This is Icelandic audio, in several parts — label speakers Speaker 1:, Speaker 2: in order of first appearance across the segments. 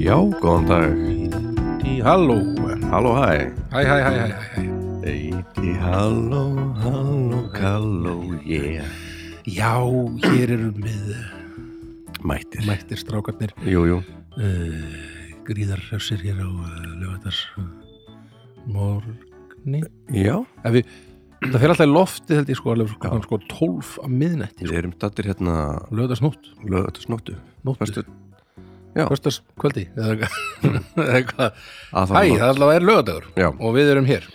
Speaker 1: Já, góðan dag.
Speaker 2: Í halló
Speaker 1: Halló, hæ.
Speaker 2: Hæ, hæ, hæ, hæ, hæ
Speaker 1: Eiti, halló, halló, kalló, yeah.
Speaker 2: Já, hér erum við
Speaker 1: Mættir.
Speaker 2: mættir strákarnir
Speaker 1: Jú, jú.
Speaker 2: uh, gríðar refsir hér á uh, lögatars morgni
Speaker 1: Já.
Speaker 2: Ef við, það fyrir alltaf í lofti held ég sko alveg sko, klukkan, sko 12 að miðnætti
Speaker 1: Við
Speaker 2: sko.
Speaker 1: erum dattir hérna
Speaker 2: lögatars nótt,
Speaker 1: lögatasnóttu.
Speaker 2: nóttu
Speaker 1: Föstu- Já.
Speaker 2: Föstars kvöldi eða eitthvað eða eitthvað.
Speaker 1: Að
Speaker 2: Hæ, það
Speaker 1: nótt.
Speaker 2: alltaf er lögadagur
Speaker 1: Já.
Speaker 2: og við erum hér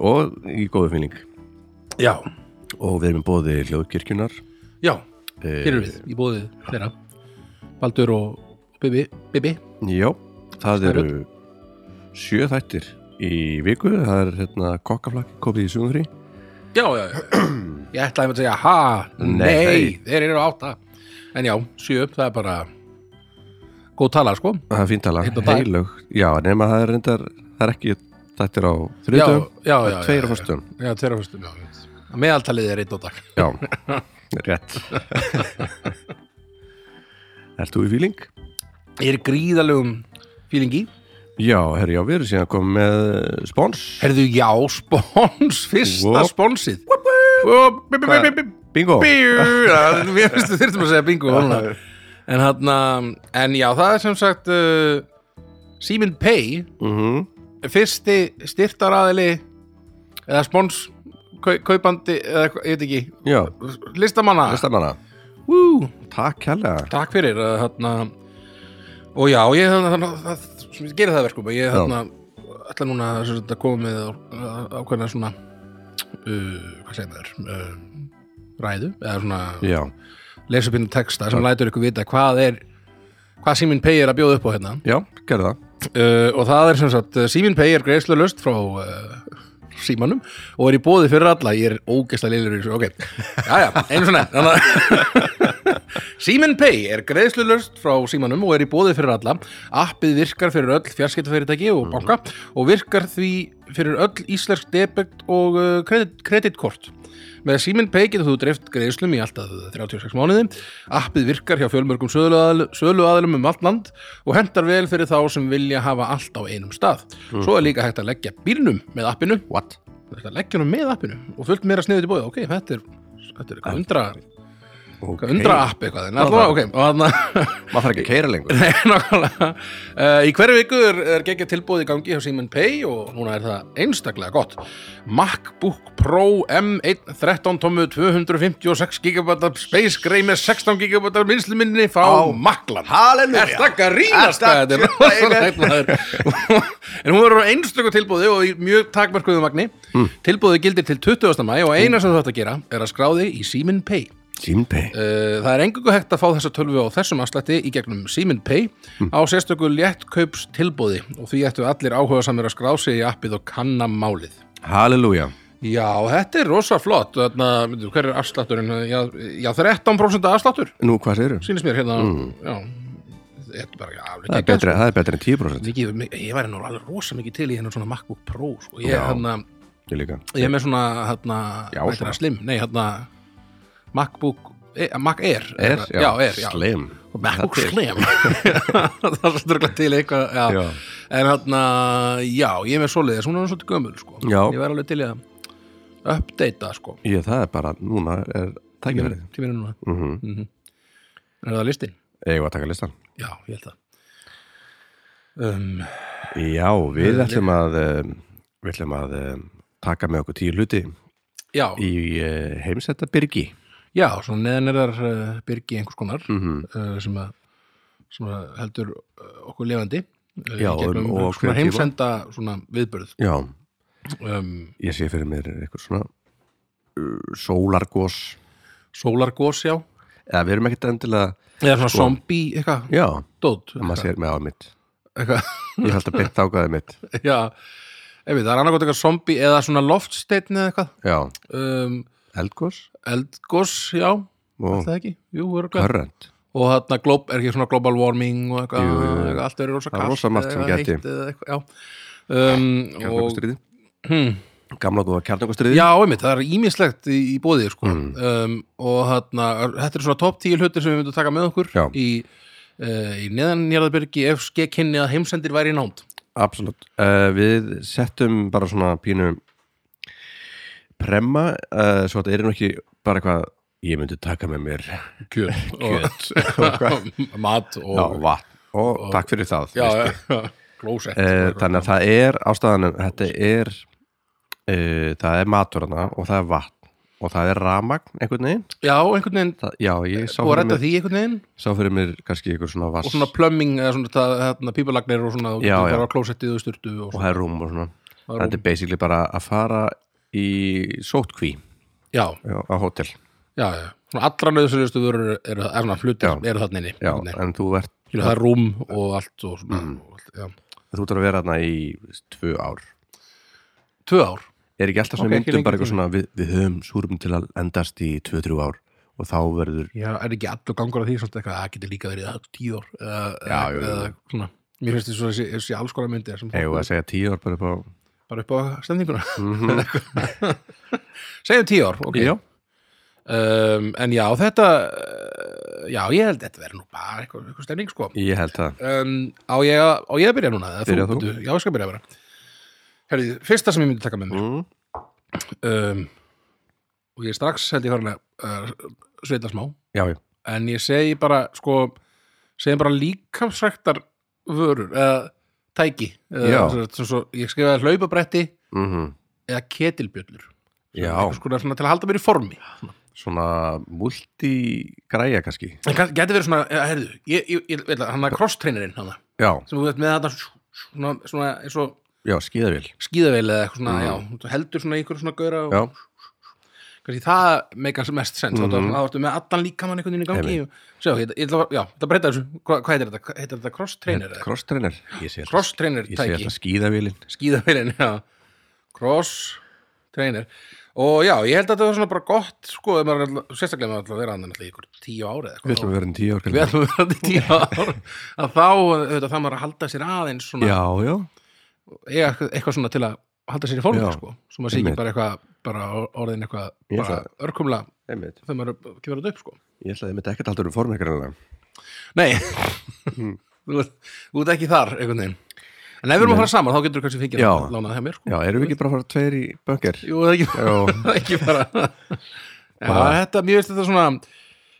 Speaker 1: Og í góðu fíling.
Speaker 2: Já,
Speaker 1: Og við erum bóði hljóðkirkjunar.
Speaker 2: já,
Speaker 1: Eh,
Speaker 2: hér erum við í bóðið fleira Baldur og Bibi, Bibi
Speaker 1: Eh, Já. Það
Speaker 2: Snærödd.
Speaker 1: eru sjö þættir í viku. Það er hérna kokkaflakki, kopið í sjónfrí.
Speaker 2: Já, já, já. Ég ætlaði einmitt að segja, ha, nei,
Speaker 1: Nei.
Speaker 2: þeir eru átta. En já, sjö, það er bara góð tala, sko.
Speaker 1: Það er fínt tala.
Speaker 2: Einn á dag.
Speaker 1: Heilög. Já, nema það er reyndar, það er ekki þættir á þriðdöfum.
Speaker 2: já, já, já,
Speaker 1: Tveir
Speaker 2: já,
Speaker 1: á fyrstum.
Speaker 2: Já, tveir af fyrstum, já. einmitt. Meðaltalið er einn og dag.
Speaker 1: Já, rétt Ert þú í fíling?
Speaker 2: Ég er í gríðalegum fílingi.
Speaker 1: Já, herri, já, við erum síðan komið með eh, spons
Speaker 2: Herðu, já, spons, fyrsta
Speaker 1: Wop.
Speaker 2: sponsið. Wop, bip, bip, bip, bip,
Speaker 1: Bingo
Speaker 2: bíu. Já, Mér finnst þú þyrftum að segja bingo. núna. En hann, en já, það er sem sagt uh, Simin Pay
Speaker 1: mm -hmm.
Speaker 2: fyrsti styrtaraðili eða spons kau, kaupandi eða eitthvað, ég veit ekki
Speaker 1: Já,
Speaker 2: listamanna
Speaker 1: listamanna
Speaker 2: Woo!
Speaker 1: Takk hella
Speaker 2: takk fyrir uh, þarna, og já, ég hérna, þarna, þarna, það, sem ég gerir það verkum ég þarna, ætla núna sem sagt, að koma með á- ákveðna svona uh, hvað segir maður uh, ræðu eða svona
Speaker 1: Já,
Speaker 2: lesupinnu texta sem lætur ykkur vita hvað er hvað síminn pay er að bjóða upp á hérna
Speaker 1: já, gerðu það
Speaker 2: uh, og það er sem sagt Simin Pay er greiðslu löst frá uh, símanum og er í bóði fyrir alla ég er ógeðslega liður í þessu, ok jæja, einu svona Simin Pay er greiðslu löst frá símanum og er í bóði fyrir alla appið virkar fyrir öll fjarskiptafyrirtæki og banka og virkar því fyrir öll íslensk debit og uh, kredit, kreditkort Með Simin Pay getur þú dreift greiðslum í alltaf 36 mánuði. Appið virkar hjá fjölmörgum söluaðilum söluaðilum um allt land og hendar vel fyrir þá sem vilja hafa allt á einum stað. Svo er líka hægt að leggja bílnum með appinu.
Speaker 1: What?
Speaker 2: Hægt að leggja hann með appinu og fullt meira sniðið til bóðið. Ok, þetta er, þetta er eitthvað undra,
Speaker 1: Okay.
Speaker 2: okay. undra app eitthvað. En allavega, ok, og þannig
Speaker 1: Maður þarf ekki að keira lengur
Speaker 2: Nei, nákvæmlega. Uh, í hverju viku er, er geggja tilbúið í gangi hjá Simen Pay og núna er það einstaklega gott. MacBook Pro M1 13 tomu 256 GB Space Gray með 16 GB minnsluminni frá
Speaker 1: Á.
Speaker 2: Macland.
Speaker 1: Halleluja.
Speaker 2: Er það grínast
Speaker 1: Er
Speaker 2: það?
Speaker 1: það
Speaker 2: Þetta er rosalegt maður. en hún verður á einstaklega tilbúið og í mjög takmarkuðu magni. Mm. Tilbúið gildir til 20. mæ og eina sem þú ætti að gera er að skráði í Simen Pay.
Speaker 1: Sýmpei
Speaker 2: Uh, það er engungu hægt að fá þessa tölvu á þessum afslætti í gegnum Simin Pay á sérstöku léttkaups tilbúði og því ættu allir áhuga samir að skrá sig í appið og kanna málið.
Speaker 1: Halleluja
Speaker 2: Já, þetta er rosa flott. Þarna, myndu, hver er afslátturinn? Já, já 13% afsláttur,
Speaker 1: Nú, hvað segirðu?
Speaker 2: sýnist mér hérna. Já, þetta er bara já, alveg
Speaker 1: Það er betra, það er betra en 10%
Speaker 2: Mikið, ég væri nú alveg rosa mikið til í hennar svona MacBook Pro. Sko. Ég,
Speaker 1: Já.
Speaker 2: hérna,
Speaker 1: Ég líka
Speaker 2: ég er með svona, hérna,
Speaker 1: Já,
Speaker 2: hvað heitir
Speaker 1: svona.
Speaker 2: það, slim, nei, hérna, MacBook, e, Mac Air.
Speaker 1: Er, já,
Speaker 2: já, Air, já.
Speaker 1: Slim
Speaker 2: MacBook
Speaker 1: Þetta er-
Speaker 2: Slim það er styrklað til eitthvað já.
Speaker 1: Já.
Speaker 2: en hann já, ég er með svoleiðis, hún er nú svolítið gömul sko.
Speaker 1: Já.
Speaker 2: ég væri alveg til í að uppdata sko,
Speaker 1: Ég, það er bara, núna er tækifærið
Speaker 2: tíminu núna Mhm.
Speaker 1: mm -hmm.
Speaker 2: er það listin?
Speaker 1: Eigum við að taka listan
Speaker 2: Já, ég held það um,
Speaker 1: Já, við ætlum að um, við ætlum að um, taka með okkur tíu hluti
Speaker 2: já,
Speaker 1: í uh, heimsetta byrgi
Speaker 2: já, svona neðan er þar uh, byrgi einhvers konar
Speaker 1: -hmm.
Speaker 2: uh, sem, að, sem að heldur uh, okkur levandi uh,
Speaker 1: Já,
Speaker 2: í gegnum,
Speaker 1: og
Speaker 2: uh, svona
Speaker 1: hver tíma?
Speaker 2: heimsenda svona viðbörð
Speaker 1: Já,
Speaker 2: um,
Speaker 1: ég sé fyrir mér eitthvað svona uh, sólargos
Speaker 2: sólargós, já
Speaker 1: eða við erum ekkert endilega
Speaker 2: eða
Speaker 1: Sko.
Speaker 2: svona zombie, eitthvað
Speaker 1: Já,
Speaker 2: dót,
Speaker 1: það maður sér með á mitt
Speaker 2: eitthvað
Speaker 1: Ég held að beint ágæði mitt
Speaker 2: Já, ef við, það er annarkot eitthvað zombi eða svona loftsteinn eða eitthvað
Speaker 1: Já,
Speaker 2: um,
Speaker 1: eldgos
Speaker 2: eldgos, já, er
Speaker 1: og
Speaker 2: það ekki Jú, örgulega
Speaker 1: körrent
Speaker 2: Og þarna glób, er ekki svona global warming og eitthvað, Ah,
Speaker 1: Jú, jú, jú.
Speaker 2: eitthvað allt verið rosa
Speaker 1: Það er
Speaker 2: kalt
Speaker 1: rosa margt sem
Speaker 2: eða
Speaker 1: gæti.
Speaker 2: heitt eða eitthvað, Já um, og,
Speaker 1: Kjarnakostriði
Speaker 2: hmm,
Speaker 1: Gamla góða kjarnakostriði
Speaker 2: Já, einmitt, það er ímislegt í, í
Speaker 1: Mm.
Speaker 2: bóðið sko. um, og þarna, þetta er svona topp tíu hlutir sem við myndum taka með okkur
Speaker 1: Já.
Speaker 2: í uh, í neðanjarðabyrgi ef skekkinni að heimsendir væri í nánd
Speaker 1: Absolutt. Uh, við settum bara svona pínu premma, uh, svo þetta er nú ekki bara eitthvað ég myndi taka með mér
Speaker 2: kjöt, og mat
Speaker 1: já,
Speaker 2: og
Speaker 1: vatn og, takk fyrir það.
Speaker 2: já,
Speaker 1: veist.
Speaker 2: já, já, klósett
Speaker 1: Eh, þannig að það er ástæðanum, þetta er uh, það er matur hana og það er vatn og það er ramagn einhvern veginn.
Speaker 2: já, einhvern veginn,
Speaker 1: Það, já, ég sá
Speaker 2: og
Speaker 1: fyrir,
Speaker 2: rætta
Speaker 1: mér,
Speaker 2: því einhvern veginn
Speaker 1: sá fyrir mér kannski einhver svona vass
Speaker 2: Eh, og svona plömming eða svona það- þarna pípalagnir og svona og
Speaker 1: Já, já.
Speaker 2: bara klósettið og styrtu og
Speaker 1: og
Speaker 2: svona.
Speaker 1: það er rúm og svona.
Speaker 2: Það er
Speaker 1: Þetta er basically bara að fara í sótkví
Speaker 2: já,
Speaker 1: já, á hótel.
Speaker 2: já, já, svona allra nöðsynlustu eru, eru, er svona hlutir,
Speaker 1: Já.
Speaker 2: eru þarna inni
Speaker 1: Já, Mm.
Speaker 2: Einhvern veginn.
Speaker 1: en þú ert
Speaker 2: Skilur, það er rúm og allt og svona og allt, já.
Speaker 1: þú ert að vera þarna í tvö ár
Speaker 2: tvö ár
Speaker 1: er ekki alltaf
Speaker 2: Ok,
Speaker 1: svona
Speaker 2: ekki
Speaker 1: myndum
Speaker 2: lengur
Speaker 1: bara eitthvað svona við, við höfum súrum til að endast í tvö-trjú ár og þá verður
Speaker 2: Já, er ekki allur gangur að því svolítið eitthvað að það getur líka verið að tíu ár eða,
Speaker 1: Já, jú, jú.
Speaker 2: eða svona Mér finnst þess að þessi, þessi alls konar myndir sem
Speaker 1: eigum við
Speaker 2: fólk-
Speaker 1: að segja tíu ár bara upp á
Speaker 2: bara upp á stemninguna Segjum tíu ár, ok
Speaker 1: Mhm. Já.
Speaker 2: um, En já, þetta uh, Já, ég held að þetta verður nú bara eitthvað, eitthvað stemning sko
Speaker 1: ég held það
Speaker 2: um, á, ég, að- á ég að byrja núna? eða
Speaker 1: Byrja þú.
Speaker 2: Bíddu, Já, ég skal byrja bara Herrið, fyrsta sem ég myndi taka með mér
Speaker 1: mm.
Speaker 2: um, og ég er strax held ég farin að uh, sveita smá
Speaker 1: já, já,
Speaker 2: en ég segi bara sko, segi bara líkamsræktar vörur, eða tæki
Speaker 1: Já.
Speaker 2: eða, sem sagt, sem svo, ég skrifaði hlaupabretti
Speaker 1: mm
Speaker 2: eða ketilbjöllur
Speaker 1: já
Speaker 2: sko, svona, til að halda mér í formi
Speaker 1: svona multigræja kannski
Speaker 2: en kann- gæti verið svona, eða, heyrðu ég, ég, ég, ég, hann að crosstrainerinn hann
Speaker 1: já,
Speaker 2: sem þú veit með þetta svona, svona eins og
Speaker 1: já, skíðavél
Speaker 2: skíðaveil eða eitthvað svona,
Speaker 1: Mhm.
Speaker 2: já, þú heldur svona í ykkur svona gauðra og
Speaker 1: já,
Speaker 2: kannski það meikar mest sens mm
Speaker 1: Mhm.
Speaker 2: -hmm. þá ertu með allan líkamann einhvern veginn í gangi
Speaker 1: Einmitt.
Speaker 2: og, sjá, ég, ég, ætla- já, þetta breyta þessu, hvað, hvað heitir þetta heitir þetta crosstrainer eða?
Speaker 1: crosstrainer ég sé alltaf,
Speaker 2: crosstrainer
Speaker 1: ég sé
Speaker 2: tæki
Speaker 1: alltaf skíðavélin
Speaker 2: skíðavélin, já cross trainer og já, ég held að þetta var svona bara gott sko, ef maður, er alltaf- sérstaklega ef maður ætla að vera hann í ykkur tíu ári
Speaker 1: við
Speaker 2: eða
Speaker 1: ætlum
Speaker 2: eitthvað,
Speaker 1: að vera enn tíu ár
Speaker 2: þá- við
Speaker 1: kannski.
Speaker 2: ætlum að vera í tíu ár að þá, auðvitað, það maður að halda sér aðeins svona,
Speaker 1: já, já,
Speaker 2: eiga eitthvað- eitthvað svona til að halda sér í fólk,
Speaker 1: Já,
Speaker 2: sko, svo maður sé ekki
Speaker 1: einmitt.
Speaker 2: bara eitthvað, bara or- orðin eitthvað
Speaker 1: Ég
Speaker 2: bara örkumla
Speaker 1: einmitt
Speaker 2: þegar maður kemur þetta upp, sko
Speaker 1: ég ætlaði mitt ekkert aldrei um formekar
Speaker 2: nei, þú ert- þú ert ekki þar einhvern veginn, en ef við erum að fara saman þá getur þú kannski fengið
Speaker 1: Já.
Speaker 2: að lána það hjá mér, sko
Speaker 1: já, erum við ekki bara að fara tveir í bönger
Speaker 2: Jú, það er ekki
Speaker 1: já,
Speaker 2: Það er ekki bara Já,
Speaker 1: Bara-
Speaker 2: þetta, mér veist þetta svona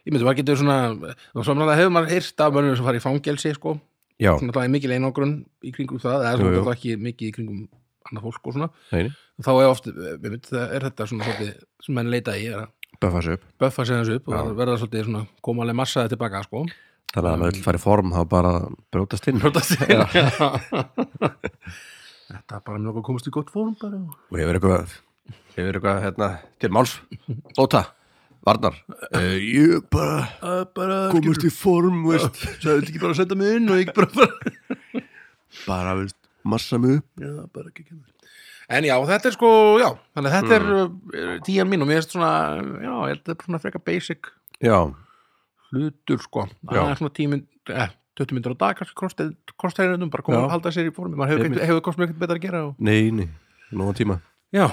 Speaker 2: ég myndi, maður getur svona og svo náttúrulega hefur maður heyrt af mönnum sem fara í fangelsi sko,
Speaker 1: já,
Speaker 2: svona það er mikil einangrun í kringum það, eða
Speaker 1: Jú,
Speaker 2: svona
Speaker 1: jú.
Speaker 2: það ekki mikið í kringum annað fólk og svona
Speaker 1: neini,
Speaker 2: þá er oft, mér veit, það er þetta svona svolítið, sem menn leita í, er að
Speaker 1: böffa sig upp
Speaker 2: böffa sig þessu upp
Speaker 1: Já.
Speaker 2: og verða svolítið svona koma alveg massaði tilbaka, sko
Speaker 1: Þannig að maður vill fara í form þá bara brjótast inn
Speaker 2: Nota sig. Þetta er bara mjög að komast í gott fórum bara
Speaker 1: og hefur eitthvað, hefur eitthvað hérna, til máls, óta Varnar, uh, ég bara
Speaker 2: Það er bara,
Speaker 1: komast í form veist,
Speaker 2: það er ekki bara að setja mig inn og ekki bara bara
Speaker 1: bara veist, massa mig upp
Speaker 2: Já, bara ekki kemur En já, þetta er sko, já, þannig að þetta er, er tíjan mín og mér finnst svona, já, ég held að þetta er svona freka basic
Speaker 1: Já,
Speaker 2: hlutur sko, það
Speaker 1: Já.
Speaker 2: er svona tímin, eh, 20 myndir á dag, kannski krosstæðinum, bara koma
Speaker 1: Já.
Speaker 2: að halda sér í formi, maður hefur,
Speaker 1: Einmitt.
Speaker 2: ekkert- hefur kostum ekkert betra að gera og...
Speaker 1: nei, nei, nóg tíma
Speaker 2: Já,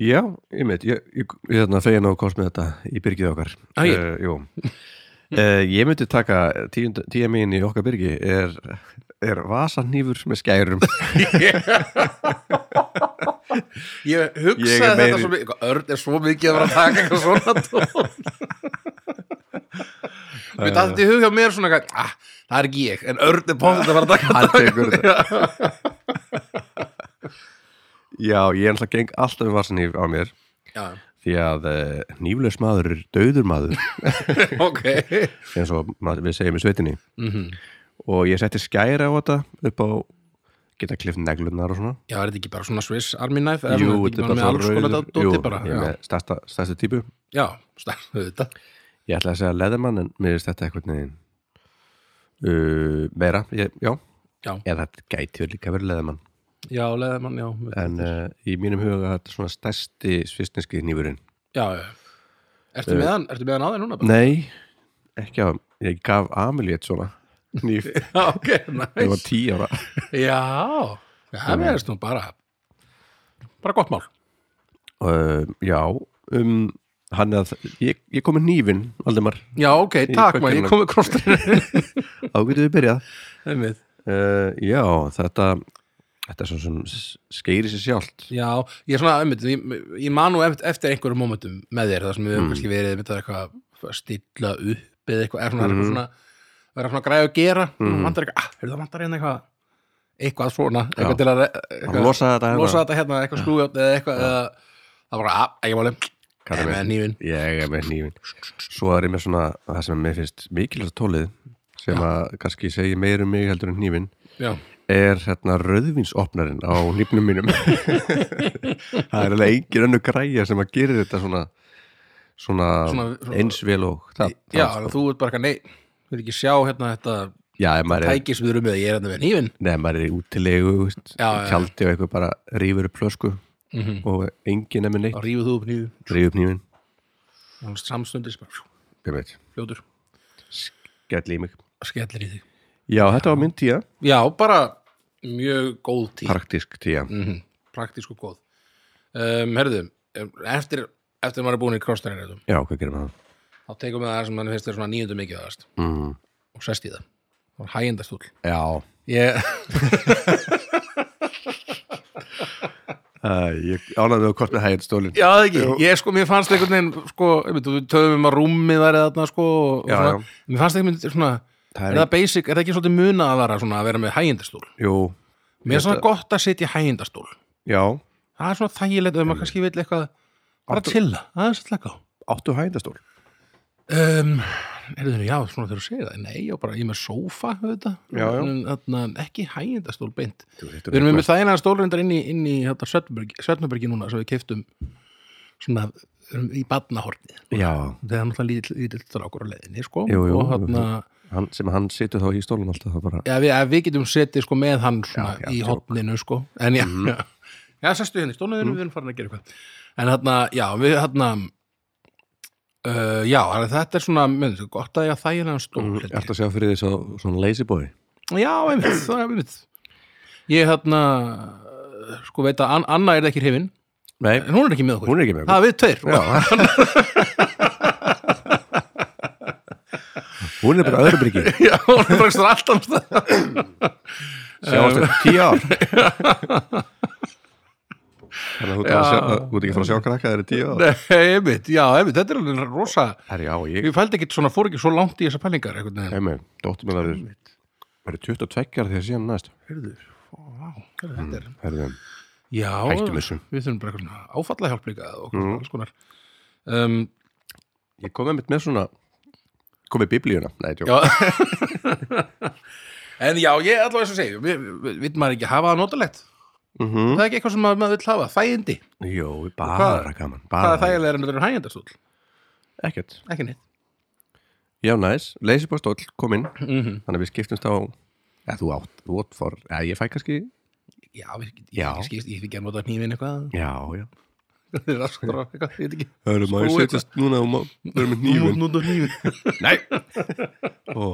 Speaker 1: Já, ég veit, ég, ég, hérna, ég þarna fegin á að kost með þetta í byrgið okkar
Speaker 2: Ah, ég-
Speaker 1: Eh, Jú Uh, ég myndi taka tíund- tíja mín í okkar byrgi er, er vasanýfur með skærum
Speaker 2: ég
Speaker 1: Ég
Speaker 2: hugsaði
Speaker 1: er meiri-
Speaker 2: þetta svo mikið, örn er svo mikið að vera að taka eitthvað svona tón Mér dætti í hug hjá mér svona, eitthvað, ah, það er ekki ég, en örn er bóðið að fara að taka
Speaker 1: hann tekur þetta Já, ég ennlega geng alltaf um varsanýf á mér
Speaker 2: Já,
Speaker 1: því að uh, nýflaus maður er döður maður
Speaker 2: ok
Speaker 1: eins og ma- við segjum í sveitinni
Speaker 2: mm
Speaker 1: og ég setti skæri á þetta upp á geta klift neglunar og svona
Speaker 2: Já, er þetta ekki bara svona Swiss Army Knife? eða
Speaker 1: Jú,
Speaker 2: svona,
Speaker 1: þetta er
Speaker 2: með
Speaker 1: bara
Speaker 2: alls
Speaker 1: svo
Speaker 2: konar
Speaker 1: rauður
Speaker 2: dót- dóti
Speaker 1: Jú,
Speaker 2: bara,
Speaker 1: ég er með stærsta, stærsta típu
Speaker 2: Já, stærðu þetta
Speaker 1: Ég ætla að segja leðamann en mér finnst þetta eitthvað neginn uh, meira, ég, já
Speaker 2: Já.
Speaker 1: eða þetta gæti vel líka verið leðamann
Speaker 2: Já, leðamann, já með-
Speaker 1: en uh, í mínum huga þetta er svona stærsti svisneski nýfurinn
Speaker 2: Já, já Ertu með hann, ertu með hann á þeir núna bara?
Speaker 1: Nei, ekki á ég gaf Amelie eitt svona nýf,
Speaker 2: Já, ok,
Speaker 1: ég var
Speaker 2: næs
Speaker 1: tí ára
Speaker 2: Já, já, það verðist nú bara bara gott mál
Speaker 1: uh, já um, hann er að, ég, ég kom með nýfin Valdimar,
Speaker 2: Já, ok,
Speaker 1: Í
Speaker 2: takk
Speaker 1: kökkunum.
Speaker 2: maður, ég kom með krosturinn
Speaker 1: þá getum við byrjað
Speaker 2: Einmitt.
Speaker 1: uh, Já, þetta þetta er svona sem s- skeirir sér sjálft
Speaker 2: Já, ég er svona, einmitt, ég, ég man nú eft- eftir einhverjum momentum með þér þar sem við höfum kannski verið einmitt að eitthvað að stilla upp eða eitthvað, er svona, mm. svona vera svona græði að gera, mm. vantar eitthvað ah, heyrðu, það vantar hérna eitthvað eitthvað svona, eitthvað
Speaker 1: Já.
Speaker 2: til að re-
Speaker 1: Hann
Speaker 2: eitthvað,
Speaker 1: losaði þetta hérna.
Speaker 2: losa þetta hérna, eitthvað skrújátt eða eitthvað, eða það bara, að, ekki máli
Speaker 1: Kallar
Speaker 2: með nýfin,
Speaker 1: Ég er með nýfin Svo er ég með svona, það sem mér finnst mikilvægt tólið sem að kannski segi meir um mig heldur en nýfin
Speaker 2: já,
Speaker 1: er hérna rauðvinsopnarinn á nýfnum mínum það er alveg engin önnu græja sem að gera þetta svona, svona,
Speaker 2: Svona- svona-
Speaker 1: eins vel og það, það,
Speaker 2: já, þannig að þú ert bara eitthvað, nei, vil ekki sjá hérna þetta
Speaker 1: já, ef maður er,
Speaker 2: tæki sem við erum með, ég er hérna með nýfin
Speaker 1: nei, ef maður er í útilegu þú veist,
Speaker 2: Já, já, Mhm. já.
Speaker 1: tjaldi og eitthvað bara rífur upp flösku og engin er með
Speaker 2: þá
Speaker 1: neitt
Speaker 2: rífið þú upp nýfin
Speaker 1: rífur upp nýfin,
Speaker 2: og samstundis, bara, fjú,
Speaker 1: ég veit,
Speaker 2: fljótur
Speaker 1: gæt límig
Speaker 2: skellir í þig
Speaker 1: já, þetta var minn tíja,
Speaker 2: Já, bara mjög góð tíð
Speaker 1: praktisk tíja
Speaker 2: mm praktísk og góð um, Herðu, eftir, eftir maður er búin í krossnærinrætum
Speaker 1: já, hvað gerum við það?
Speaker 2: þá tekum við það sem mann finnst er svona nýjöndu mikið aðast
Speaker 1: Mm.
Speaker 2: og sest í það og hægjendastúl
Speaker 1: já,
Speaker 2: Ég,
Speaker 1: uh, ég ánaði á hvort með hægir stólin
Speaker 2: já, það ekki, ég sko, mér fannst einhvern veginn sko, einmitt, við töfum um að rúmið væri þarna sko, og
Speaker 1: Já,
Speaker 2: svona,
Speaker 1: já.
Speaker 2: mér fannst einhvern veginn svona
Speaker 1: Það
Speaker 2: er
Speaker 1: er
Speaker 2: það basic, er það ekki svolítið muna að vera svona að vera með hægjendastúl
Speaker 1: jú,
Speaker 2: Mér er svona gott að sitja í hægjendastúl
Speaker 1: já,
Speaker 2: Það er svona þægilegt ef maður kannski vil eitthvað bara
Speaker 1: Áttu-
Speaker 2: til það, það er svolítið á
Speaker 1: áttu hægindastól
Speaker 2: Um, er já, svona þegar þú segir það Nei, já, bara ég er með sófa þetta,
Speaker 1: Já, já.
Speaker 2: En, þarna, ekki hægindastól beint
Speaker 1: við
Speaker 2: Við erum með þægilega stólrindar inn í, inn í hérna, Svefnbergi, Svefnbergi núna sem við keiftum svona erum í badnahornið
Speaker 1: Já,
Speaker 2: Það er náttúrulega lítill lítill strákur á leiðinni sko.
Speaker 1: Jú, jú.
Speaker 2: og þarna,
Speaker 1: hann, sem hann situr þá í stólum alltaf það bara,
Speaker 2: já, við, ja, við getum setið sko, með hann svona,
Speaker 1: Já, Mhm. já,
Speaker 2: í
Speaker 1: djók.
Speaker 2: horninu sko. en já, já, já sestu henni
Speaker 1: Mhm.
Speaker 2: stólnaður mm. við erum farin að gera eitthvað en þarna, já, við þarna uh, já, þetta er svona með, gott að ég að þægilega stól held ég.
Speaker 1: ert Mhm. Mm, að sjá fyrir því svo, svona lazy boy
Speaker 2: Já, einmitt, það er einmitt Ég þarna uh, sko veit að An- Anna er ekki hrifin
Speaker 1: Nei,
Speaker 2: en hún er ekki með okkur,
Speaker 1: hún er ekki með
Speaker 2: það er við tveir
Speaker 1: okkur. Hún er bara öðru bryggi
Speaker 2: Já, hún er bara ekstra allt annars það
Speaker 1: Sjáast þetta tíu ár Þannig að þú ert að
Speaker 2: Já.
Speaker 1: sjá- þú ert ekki að fara að sjá krakka þeirri tíu ár
Speaker 2: Nei, einmitt, já, einmitt, þetta er alveg rosa
Speaker 1: Herri, já, ég
Speaker 2: Ég fældi ekki svona, fór ekki svo langt í þessar pælingar einhvern veginn
Speaker 1: Heimi, dóttir mér verður verður 22 ára þegar síðan næst
Speaker 2: Heyrðu, vá, heyrðu, þetta er
Speaker 1: Herri,
Speaker 2: Já,
Speaker 1: Hættum Mm. þessu.
Speaker 2: við þurfum bara eitthvað áfallahjálp líka og mm. alls konar um,
Speaker 1: ég kom einmitt með svona komið biblíuna Nei, tjók,
Speaker 2: Já En já, ég allavega eins og segi við, við, við maður ekki hafa það notalegt
Speaker 1: Mhm.
Speaker 2: Það er ekki eitthvað sem maður, maður vill hafa, þægindi
Speaker 1: Jó,
Speaker 2: Hvað-
Speaker 1: bara gaman
Speaker 2: Það
Speaker 1: bara
Speaker 2: er þægilega en þetta er hægjandastúl
Speaker 1: Ekkert
Speaker 2: Ekki neitt
Speaker 1: Já, næs, leysibóðstóll kom inn
Speaker 2: Mhm.
Speaker 1: þannig að við skiptumst á eða þú átt, þú átt for, eða ég fæ kannski
Speaker 2: Já, við, ég,
Speaker 1: Já.
Speaker 2: ég, skýst, ég fyrir ekki að nota hnífin eitthvað
Speaker 1: Já, já
Speaker 2: Raskar á eitthvað, ég veit ekki
Speaker 1: Hörru, má ég
Speaker 2: Skói-
Speaker 1: setjast núna og má, við erum með hnífun
Speaker 2: Nú nota hnífin
Speaker 1: Nei Ó,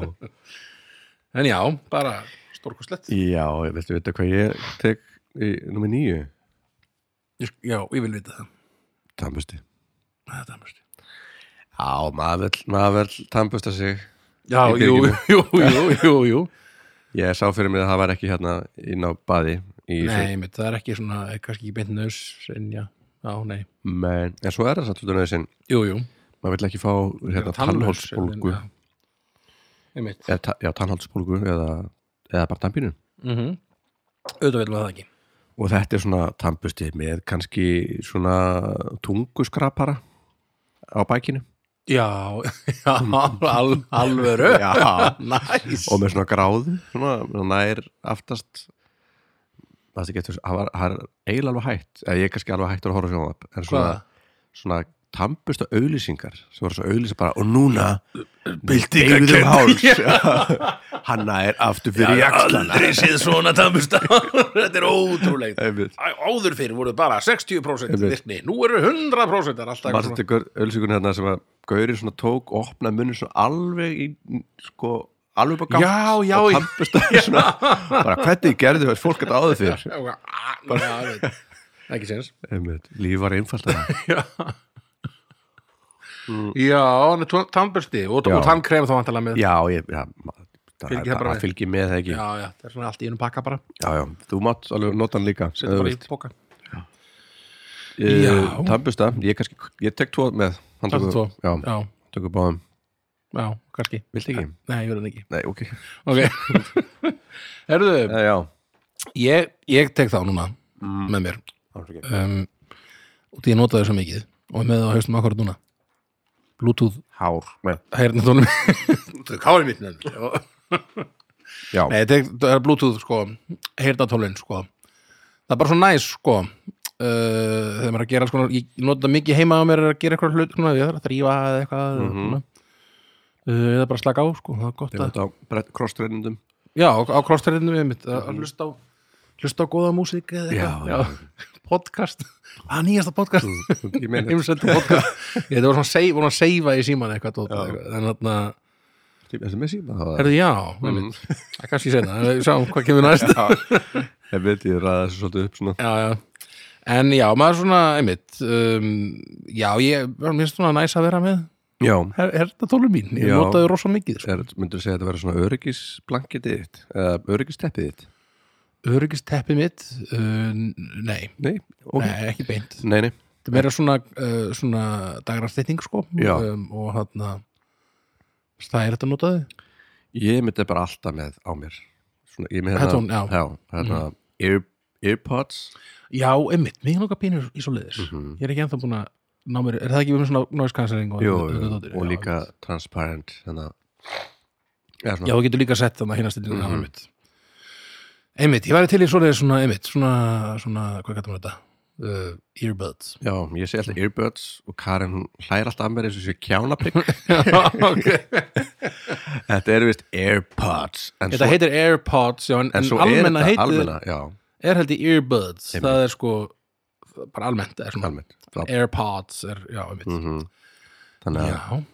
Speaker 2: En já, bara stórkostlegt
Speaker 1: Já, viltu vita hvað ég tek í nummer nýju?
Speaker 2: Ég- Já, ég vil vita það
Speaker 1: Tambusti
Speaker 2: Það er dæmust
Speaker 1: Já, maður vill, maður vill tambusta sig
Speaker 2: Já,
Speaker 1: Í
Speaker 2: jú,
Speaker 1: byrginu.
Speaker 2: jú, jú, jú, jú
Speaker 1: Ég sá fyrir mig að það var ekki hérna inn á baði í þessu.
Speaker 2: Nei, mitt, það er ekki svona, eh, kannski ekki beint nöðs En já, já, nei
Speaker 1: Men, en svo er það satt út af nöðsinn
Speaker 2: Jú, jú
Speaker 1: maður vill ekki fá hérna,
Speaker 2: Tannlaus,
Speaker 1: tannhólsbólgu
Speaker 2: en, já. Einmitt
Speaker 1: eða, ta- já, tannhálsbólgu eða, eða bara tannpínu
Speaker 2: Mhm. Auðvitað vil maður það ekki
Speaker 1: og þetta er svona tannbusti með kannski svona tunguskrapara á bækinu
Speaker 2: Já, já, al, alvöru
Speaker 1: Já.
Speaker 2: Næs
Speaker 1: og með svona gráðu svona nær aftast það er getur, það var, það er eiginlega alveg hægt eða ég er kannski alveg hægt að horfa sjóma upp en svona,
Speaker 2: Hvað?
Speaker 1: svona tannbusta auðlýsingar sem voru svo auðlýsa bara og núna
Speaker 2: Byltingarkennd.
Speaker 1: David um háls hanna er aftur fyrir jakslan
Speaker 2: Aldrei séð svona tambusta Þetta er ótrúlegt
Speaker 1: Einmitt.
Speaker 2: Æ, Áður fyrir voru bara 60%
Speaker 1: Einmitt.
Speaker 2: virkni Nú eru 100% það er alltaf
Speaker 1: Marstu
Speaker 2: svona-
Speaker 1: þetta ölsíkunni hérna sem að Gaurið svona tók og opnaði munni svona alveg í, sko, alveg bara gátt
Speaker 2: Já, já,
Speaker 1: og
Speaker 2: já.
Speaker 1: tampust svona bara hvernig gerðu þess fólk þetta áður fyrir
Speaker 2: Já, já, já, já, Ekki séns
Speaker 1: Einmitt, líf var einfalt að
Speaker 2: Já. Já, hann er tannbörsti og,
Speaker 1: Mm. Já.
Speaker 2: og tannkrem þá vantalega með
Speaker 1: Já, ég, já, ma- það
Speaker 2: Fylgir það bara
Speaker 1: það
Speaker 2: með.
Speaker 1: fylgir með það ekki.
Speaker 2: já, já, það er svona allt í einum pakka bara
Speaker 1: Já, já, þú mátt alveg nota hann líka.
Speaker 2: setja bara í póka Já.
Speaker 1: Tambusta, ég kannski, ég tek tvo með. Hann
Speaker 2: Taktu
Speaker 1: tekur-
Speaker 2: tvo.
Speaker 1: Já,
Speaker 2: já,
Speaker 1: tökur báðum.
Speaker 2: já, kannski
Speaker 1: Vilt ekki?
Speaker 2: nei, ég verður ekki
Speaker 1: Nei, ok.
Speaker 2: ok, herruðu
Speaker 1: Já, já.
Speaker 2: ég, ég tek þá núna
Speaker 1: Mm.
Speaker 2: með mér um, og því ég nota þau svo mikið og er með það á haustum akkurat núna bluetooth
Speaker 1: Hár. Með.
Speaker 2: heyrnatónum kárið mitt nefnir
Speaker 1: Já,
Speaker 2: Nei, þetta er- það er bluetooth sko heyrnatólin sko það er bara svo næs sko uh, þegar maður er að gera sko ég nota það mikið heima á mér er að gera eitthvað hlut svona, ég þarf að þrýfa eða eitthvað mm uh, eða bara slaka á sko það er gott
Speaker 1: Mhm. ég
Speaker 2: að
Speaker 1: mátt á cross-treinundum.
Speaker 2: já, á, á krosstærinnu við mitt að að hlusta á hlusta á góða músík eða eitthvað
Speaker 1: Mhm. Já, Mm. já.
Speaker 2: podcast að nýjasta podcast
Speaker 1: Ég meina þetta.
Speaker 2: heimsendu podcast ég, þetta var svona save, voru að seifa í síman eitthvað dót, eitthvað. en þarna
Speaker 1: Þetta með síma það.
Speaker 2: Herðu, já, mm. það kannski seinna, en við sjáum hvað kemur næst
Speaker 1: Ég veit, ég ræða þessu svolítið upp svona.
Speaker 2: já, já. En já, maður svona, einmitt um, Já, ég, mér finnst svona næs að vera með
Speaker 1: Já.
Speaker 2: her, hertatólum mín, ég
Speaker 1: Já.
Speaker 2: notaði rosa mikið sko.
Speaker 1: Er, myndur segja að þetta vera svona öryggisblanketið þitt? Eða öryggisteppið þitt?
Speaker 2: Öryggisteppið mitt uh, n- Nei,
Speaker 1: Nei, ok.
Speaker 2: nei, ekki beint
Speaker 1: Nei, nei.
Speaker 2: Það meira svona, uh, svona dagrasteyting sko,
Speaker 1: Já.
Speaker 2: og hann það er þetta notaði
Speaker 1: Ég myndi bara alltaf með á mér svona, Ég er með
Speaker 2: Headphone, já. Mhm.
Speaker 1: hérna ear, Earpods
Speaker 2: Já, einmitt, mér langar pínur í svo liðis Ég er ekki ennþá búin að ná mér er það ekki með svona noise cancelling og,
Speaker 1: Mhm. jú,
Speaker 2: og,
Speaker 1: jú,
Speaker 2: dótið?
Speaker 1: og
Speaker 2: Já,
Speaker 1: líka transparent hérna. Já,
Speaker 2: Já,
Speaker 1: svona,
Speaker 2: þú getur líka sett þannig að hérna stillinu
Speaker 1: Mhm.
Speaker 2: mm -hmm. einmitt, ég væri til í svona, svona einmitt, svona, svona hvað gætum við þetta? Uh, earbuds
Speaker 1: já, ég segi alltaf earbuds og Karen hún hlær alltaf að mér eins og sé kjánapikk
Speaker 2: okay.
Speaker 1: Þetta eru vist Airpods en
Speaker 2: Þetta heitir airpods, já, en,
Speaker 1: en
Speaker 2: en
Speaker 1: svo er
Speaker 2: almenna
Speaker 1: þetta
Speaker 2: heitir
Speaker 1: almenna, já,
Speaker 2: er held í earbuds,
Speaker 1: Einmitt.
Speaker 2: það er sko bara almennt, er svona
Speaker 1: almennt já,
Speaker 2: airpods, er, já, einmitt
Speaker 1: mhm. Þannig að,
Speaker 2: Já,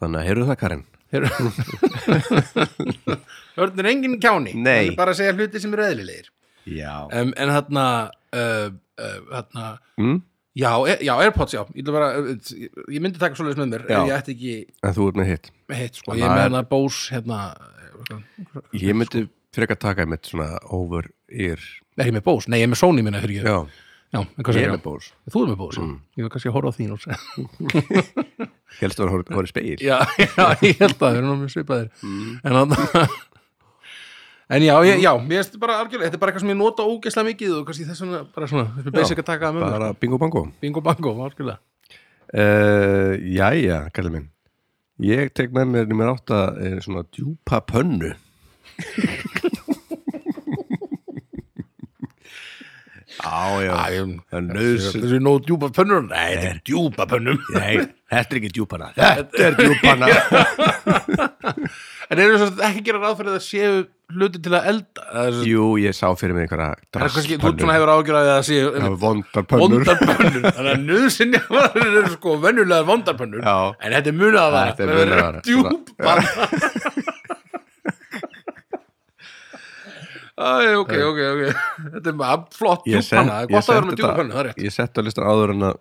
Speaker 1: þannig að heyrðu það Karen
Speaker 2: Hörnir engin kjáni
Speaker 1: Nei.
Speaker 2: hann er bara að segja hluti sem eru eðlilegir
Speaker 1: Já
Speaker 2: um, En þarna uh, uh, þarna
Speaker 1: mm?
Speaker 2: Já, e- já, Airpods, já, ég, ætla bara, ég ég myndi taka svoleiðis með mér
Speaker 1: Já.
Speaker 2: ef ég ætti ekki
Speaker 1: En þú ert með hitt
Speaker 2: hitt sko,
Speaker 1: Þannig
Speaker 2: ég er
Speaker 1: að-
Speaker 2: með hérna Bose hérna,
Speaker 1: Ég sko- myndi frekar taka mitt svona over ear
Speaker 2: er ég með Bose? Nei, ég er með Sony minna fyrir ekki,
Speaker 1: Já,
Speaker 2: já, en
Speaker 1: ég
Speaker 2: hvað segir
Speaker 1: er
Speaker 2: ég?
Speaker 1: með Bose
Speaker 2: Þú er með Bose, mm. ég var kannski að horfa á þín og segja,
Speaker 1: Helst að það voru speil
Speaker 2: já, já, ég held að það er nú mjög svipaðir, en að En já, ég, já, ég veist bara algjörlega, þetta er bara eitthvað sem ég nota ógeðslega mikið og kannski þess vegna, bara svona, þetta er basic að taka það með mér,
Speaker 1: bara bingo bango
Speaker 2: bingo bango, algjörlega.
Speaker 1: uh, Jæja, kallið minn Ég tek með mér nummer átta eh, svona djúpa pönnu Á, um, já
Speaker 2: Það
Speaker 1: er
Speaker 2: Þessi
Speaker 1: nauðsyn-
Speaker 2: þessi nóg djúpa pönnur, nei, þetta er djúpa pönnum.
Speaker 1: Nei, þetta er ekki djúpana Þetta er djúpana
Speaker 2: En eru þess að ekki gera ráð fyrir að það séu hluti til að elda? Það er svo-
Speaker 1: Jú, ég sá fyrir mig einhverja
Speaker 2: það er kannski, þú svona hefur ágjörð að það séu einmitt,
Speaker 1: hefur Vondar pönnur
Speaker 2: vondar pönnur þannig að nöðsynja varður eru sko venjulega vondar pönnur
Speaker 1: Já.
Speaker 2: en þetta er munið að vara
Speaker 1: Þetta er munað að vara.
Speaker 2: djúp bara Æ, ok, ok, ok þetta er bara flott
Speaker 1: Ég
Speaker 2: djúp panna, það er
Speaker 1: sent- ég
Speaker 2: gott að vera
Speaker 1: setti
Speaker 2: með djúp
Speaker 1: þetta-
Speaker 2: panna, það er rétt
Speaker 1: Ég setti á listan áður en að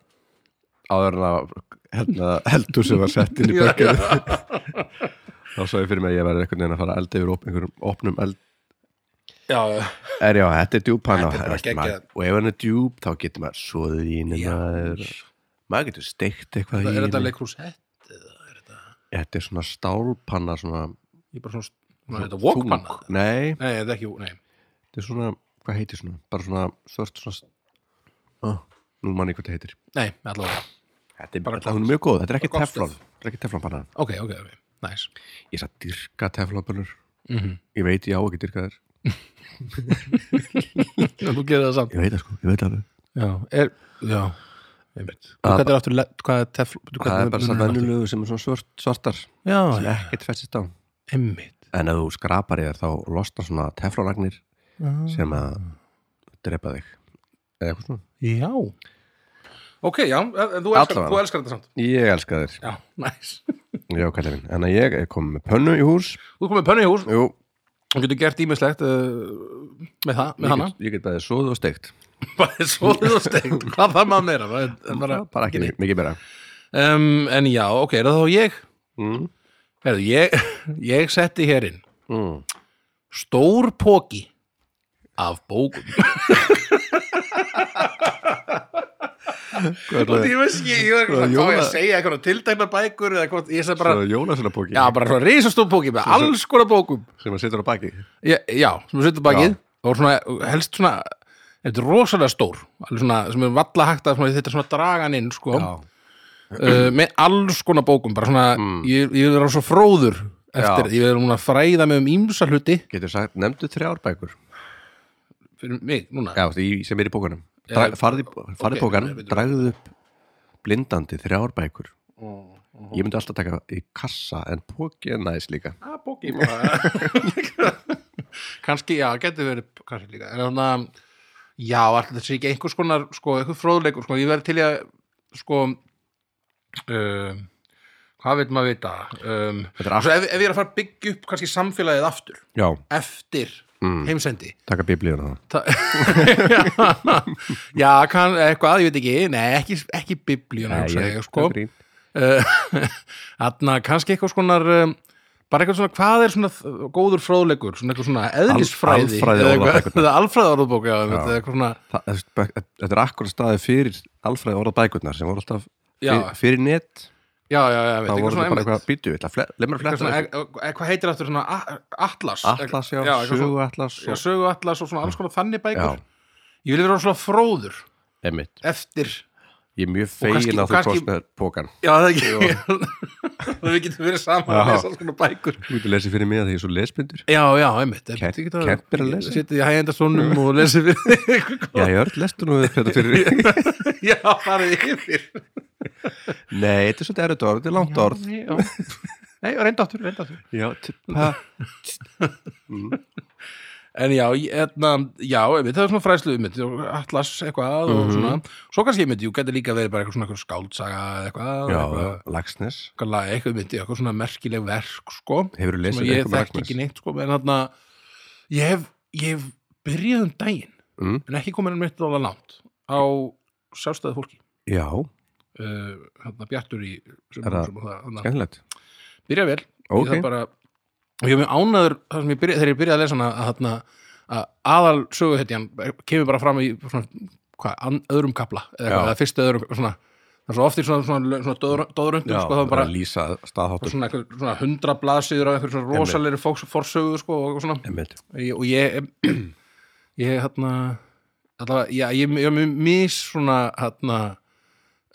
Speaker 1: áður en að hérna, heldur sem var sett inn í
Speaker 2: Já,
Speaker 1: bökkum þá svo ég fyrir mig að ég verði einhvern veginn að fara að elda yfir op, einhverjum opnum eld
Speaker 2: já,
Speaker 1: er já, þetta er djúpanna
Speaker 2: Þetta er bara geggjað.
Speaker 1: og ef hann er djúp þá getur maður svoðið í henni
Speaker 2: Já.
Speaker 1: maður, maður getur steikt eitthvað
Speaker 2: það
Speaker 1: í
Speaker 2: er þetta
Speaker 1: henni
Speaker 2: leikrús hett
Speaker 1: þetta er svona stálpanna svona,
Speaker 2: ég bara svona, svona þetta walkpanna
Speaker 1: þung. nei,
Speaker 2: nei, þetta er ekki, nei,
Speaker 1: þetta er svona, hvað heitir svona bara svona svört svona oh, nú manni hvað þetta heitir
Speaker 2: nei, allavega
Speaker 1: þetta er,
Speaker 2: Bara
Speaker 1: þetta, hún er mjög góð, þetta er ekki
Speaker 2: Bara gott
Speaker 1: teflon þetta er ekki teflonpanna
Speaker 2: ok, ok, ok, næs
Speaker 1: ég satt dyrka teflonpannur
Speaker 2: mm -hmm.
Speaker 1: ég veit ég á ekki dyrka þér
Speaker 2: þú gerir það samt
Speaker 1: ég veit það sko, ég veit það alveg.
Speaker 2: já, er, já, einmitt
Speaker 1: Að-
Speaker 2: hvað er aftur, le- hvað er tefl hvað
Speaker 1: það er bara
Speaker 2: munurinn
Speaker 1: svona
Speaker 2: aftur?
Speaker 1: vennulegu sem er svona svört, svartar
Speaker 2: já,
Speaker 1: sem
Speaker 2: já,
Speaker 1: ekkert festist á
Speaker 2: einmitt
Speaker 1: en ef þú skrapar í þér þá losna svona teflonragnir sem að drepa þig eða eitthvað svona
Speaker 2: Já Ok, já, en þú elskar,
Speaker 1: Allavega.
Speaker 2: þú elskar þetta samt
Speaker 1: ég elska þér,
Speaker 2: Já, næs
Speaker 1: já kallið minn en að ég er komið með pönnu í hús
Speaker 2: Þú er komið pönnu í hús
Speaker 1: Jú,
Speaker 2: og getur gert ímislegt uh, með það,
Speaker 1: ég
Speaker 2: með hana
Speaker 1: get, ég get bæðið svoðu og steikt
Speaker 2: Bara svoðið og stengt Hvað þarf maður meira? Bara, en bara,
Speaker 1: bara ekki mikið meira
Speaker 2: um, en já, ok, er það þá ég
Speaker 1: Mm.
Speaker 2: Herðu, ég, ég setti hér inn
Speaker 1: Mm.
Speaker 2: stór póki af bókum
Speaker 1: Hvað er það?
Speaker 2: veist ekki, ég var
Speaker 1: Svo
Speaker 2: hvað á ég
Speaker 1: jóla-
Speaker 2: segja eitthvað tildækna bækur eða hvað, ég segi
Speaker 1: Svo jólasunapóki
Speaker 2: já, bara svona risastór póki með alls konar bókum
Speaker 1: sem að setja á baki
Speaker 2: já, já sem við setjum bakið og svona, helst svona þetta er rosalega stór, alveg svona sem er valla hægt að svona, þetta er svona dragan inn sko, uh, með alls konar bókum bara svona, ég, ég er svo fróður eftir,
Speaker 1: Já.
Speaker 2: ég er núna að fræða mig um ímsa hluti
Speaker 1: Getur sagt, nefndu þrjár bækur
Speaker 2: fyrir mig núna
Speaker 1: Já, því sem er í bókanum Dra- Farði okay,
Speaker 2: ok, um-
Speaker 1: bókan,
Speaker 2: nei, veitum.
Speaker 1: dragðu upp blindandi þrjár bækur
Speaker 2: Mhm,
Speaker 1: Ég myndi alltaf taka í kassa en póki er næs líka
Speaker 2: að bóki bara. kannski, já, getur verið kannski líka, en þannig að já, alltaf þetta sé ekki einhvers konar sko, einhver fróðleikur, sko, ég verið til í að sko um, hvað veit maður vita um,
Speaker 1: Þetta er allt-
Speaker 2: svo ef, ef ég er að fara að byggja upp kannski samfélagið aftur,
Speaker 1: Já,
Speaker 2: eftir
Speaker 1: Mm.
Speaker 2: heimsendi
Speaker 1: taka biblíuna það
Speaker 2: Ta- já, kann, eitthvað, ég veit ekki nei, ekki, ekki biblíuna hugsa ég, sko.
Speaker 1: grín.
Speaker 2: Þannig að kannski eitthvað skonar um, bara eitthvað svona, hvað er svona uh, góður fróðleikur, svona eitthvað svona eðlisfræði
Speaker 1: alfræði
Speaker 2: eða eitthvað-
Speaker 1: orðabækurnar.
Speaker 2: eða alfræði orðabók eða eitthvað eitthvað svona,
Speaker 1: Það- Þetta þetta er akkur staði fyrir alfræði orða bækurnar sem voru alltaf
Speaker 2: Já.
Speaker 1: fyrir, fyrir net
Speaker 2: já, já, já, veit,
Speaker 1: þá
Speaker 2: eitthvað
Speaker 1: voru
Speaker 2: svona
Speaker 1: þetta bara eitthvað
Speaker 2: einmitt
Speaker 1: býtu lemur að
Speaker 2: eitthvað
Speaker 1: fletta
Speaker 2: svona,
Speaker 1: þessu.
Speaker 2: e- e- hvað heitir aftur svona a- atlas
Speaker 1: Atlas, já,
Speaker 2: eitthvað
Speaker 1: sögu
Speaker 2: svona-
Speaker 1: atlas
Speaker 2: já, sögu atlas og svona alls konar þannig
Speaker 1: Já,
Speaker 2: bækur ég vil vera svona fróður
Speaker 1: emitt
Speaker 2: eftir
Speaker 1: Ég er mjög
Speaker 2: kannski-
Speaker 1: fegin
Speaker 2: og
Speaker 1: að þú
Speaker 2: kannski-
Speaker 1: kost með pókan
Speaker 2: já, það ekki það við getum verið saman
Speaker 1: Já.
Speaker 2: að lesa alls konar bækur
Speaker 1: Þú ert að lesa fyrir mig að því ég er svo lesbindur
Speaker 2: já, já, einmitt
Speaker 1: Kent- Kent er að lesa.
Speaker 2: setið í hægjenda sónum og lesið fyrir þig.
Speaker 1: Já, ég öll lestu nú þetta fyrir
Speaker 2: já, farið yfir
Speaker 1: Nei, þetta er svolítið erut orð, þetta er langt orð
Speaker 2: Nei, já. Nei, reynda áttur, reynda áttur.
Speaker 1: Já, tippa
Speaker 2: En já, ég- hérna, já, einmitt, það er svona fræslu einmitt, og atlas eitthvað
Speaker 1: Mhm.
Speaker 2: og svona. Svo kannski einmitt, jú, gæti líka verið bara eitthvað svona eitthvað skáldsaga eða eitthvað,
Speaker 1: Já,
Speaker 2: eitthvað,
Speaker 1: Lagsnes
Speaker 2: eitthvað lag, eitthvað einmitt, eitthvað svona merkileg verk, sko.
Speaker 1: Hefurðu lesið
Speaker 2: sem að ég
Speaker 1: eitthvað um með
Speaker 2: þekki
Speaker 1: Agnes?
Speaker 2: ekki neitt, sko, en þarna, ég hef, ég hef byrjað um daginn,
Speaker 1: Mm.
Speaker 2: en ekki komin um eitt dólar langt á sjálfstæði fólki.
Speaker 1: Já,
Speaker 2: Uh, hérna, bjartur í sem,
Speaker 1: Er það-
Speaker 2: sem, hérna,
Speaker 1: skemmtilegt
Speaker 2: byrja vel
Speaker 1: Ok.
Speaker 2: ég, þarf bara, ég er mjög ánæður þar sem ég byrja, þegar ég byrjaði að lesa hana að, þarna, að aðal söguhetjan kemur bara fram í svona, hva, an, öðrum kapla eða,
Speaker 1: Já.
Speaker 2: eitthvað, eða fyrst öðrum svona, það er svo oft í svona, svona, svona döður- döðröndum
Speaker 1: Já,
Speaker 2: sko, það er bara
Speaker 1: að lýsa staðháttum
Speaker 2: svona, einhver, svona hundra blaðsýður af einhverjum svona
Speaker 1: Einmitt.
Speaker 2: rosalegri fólks- forsögu sko, og, svona,
Speaker 1: Emitt
Speaker 2: ég, og ég ég hérna allavega, já, ég, ég, ég mis svona hérna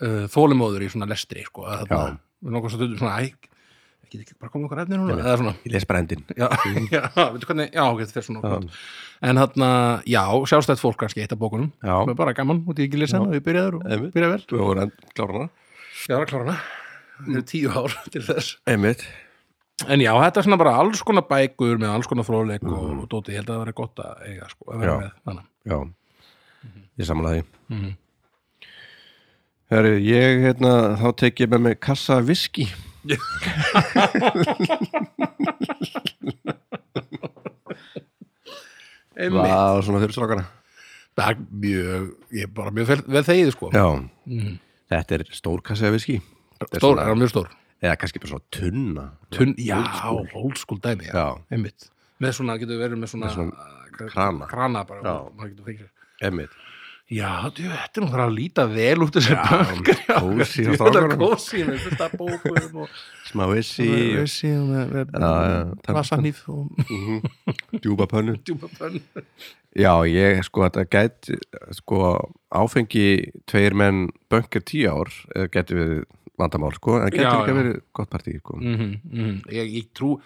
Speaker 2: uh, þólimóður í svona lestri sko, að
Speaker 1: Já.
Speaker 2: þarna, við nokkuð stundum svona æ, ég get ekki bara komið okkur efni núna
Speaker 1: Nei.
Speaker 2: eða svona,
Speaker 1: Ég les bara endin
Speaker 2: já, já, veitu hvernig já, ok, þetta fer svona um. en þarna, já, sjálfstætt fólk kannski eitt af bókunum,
Speaker 1: Já.
Speaker 2: sem er bara gaman, út í ekki lesa hana, við byrjaður og
Speaker 1: Einmitt.
Speaker 2: byrjaði vel
Speaker 1: Þú hefur enn klárana
Speaker 2: já, það er klára hana, það eru tíu ár til þess
Speaker 1: Emitt
Speaker 2: Mm. En já, þetta er svona bara alls konar bækur með alls konar fróðleik og, og dóti, ég held að það er gott að eiga sko, að vera
Speaker 1: Já.
Speaker 2: með þannig.
Speaker 1: Já,
Speaker 2: Mhm.
Speaker 1: ég samlaði mm. Herru, ég hérna, þá tek ég með mig kassa af viski
Speaker 2: Einmitt.
Speaker 1: Vá, svona fyrir strákana
Speaker 2: Það er mjög, ég er bara mjög vel, vel þegið sko
Speaker 1: Já, þetta er stór kassa af viski Þetta er
Speaker 2: Stór,
Speaker 1: svona-
Speaker 2: það er mjög stór
Speaker 1: Eða kannski bara svona tunna
Speaker 2: Tunn, Já, old school dæmi já.
Speaker 1: Já,
Speaker 2: Einmitt Með svona, getur verið með svona,
Speaker 1: Með svona
Speaker 2: uh,
Speaker 1: krana.
Speaker 2: Krana bara
Speaker 1: Já.
Speaker 2: og maður getur fengið sér.
Speaker 1: emitt
Speaker 2: Já, djú, þetta er nú þarf að líta vel út þessi bankar
Speaker 1: Kósi á
Speaker 2: Þetta er
Speaker 1: strákanum
Speaker 2: kósi með fyrsta bókum og
Speaker 1: Smá vissi,
Speaker 2: Vissi og með-
Speaker 1: já,
Speaker 2: með
Speaker 1: takk.
Speaker 2: Vassanýf og
Speaker 1: djúpa pönnu
Speaker 2: djúpa pönn
Speaker 1: Já, ég sko, þetta gæt sko, áfengi tveir menn bönkir tíu ár eh, gæti verið vandamál, sko en gæti
Speaker 2: Já,
Speaker 1: líka
Speaker 2: já.
Speaker 1: verið gott partí, sko
Speaker 2: Mhm, mhm. Ég ég trú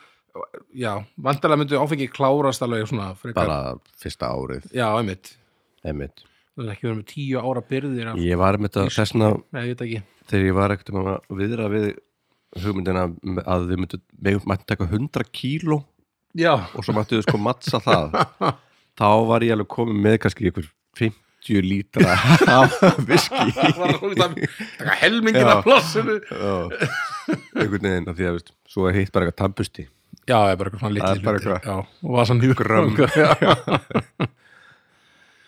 Speaker 2: Já, vantarlega myndu áfengi klárast alveg svona frekar
Speaker 1: bara fyrsta árið,
Speaker 2: Já, einmitt
Speaker 1: einmitt
Speaker 2: Það er ekki verið með tíu ára byrðir af-
Speaker 1: Ég var með þetta þessna
Speaker 2: Nei, ég veit ekki
Speaker 1: þegar ég var ekkert um að viðra við hugmyndina að við myndum við mættum taka 100 kíló
Speaker 2: Já,
Speaker 1: og svo mættum við sko mattsa það þá var ég alveg komin með kannski ykkur 50 lítra af viski
Speaker 2: það var hún það taka helmingin
Speaker 1: Já.
Speaker 2: af plássinu
Speaker 1: Já. einhvern veginn af því að veist, svo er hitt bara eitthvað tampusti
Speaker 2: Já, það er bara eitthvað svona
Speaker 1: Það
Speaker 2: litli
Speaker 1: er bara eitthvað.
Speaker 2: já, og var sann hljúk
Speaker 1: Grömm. uh,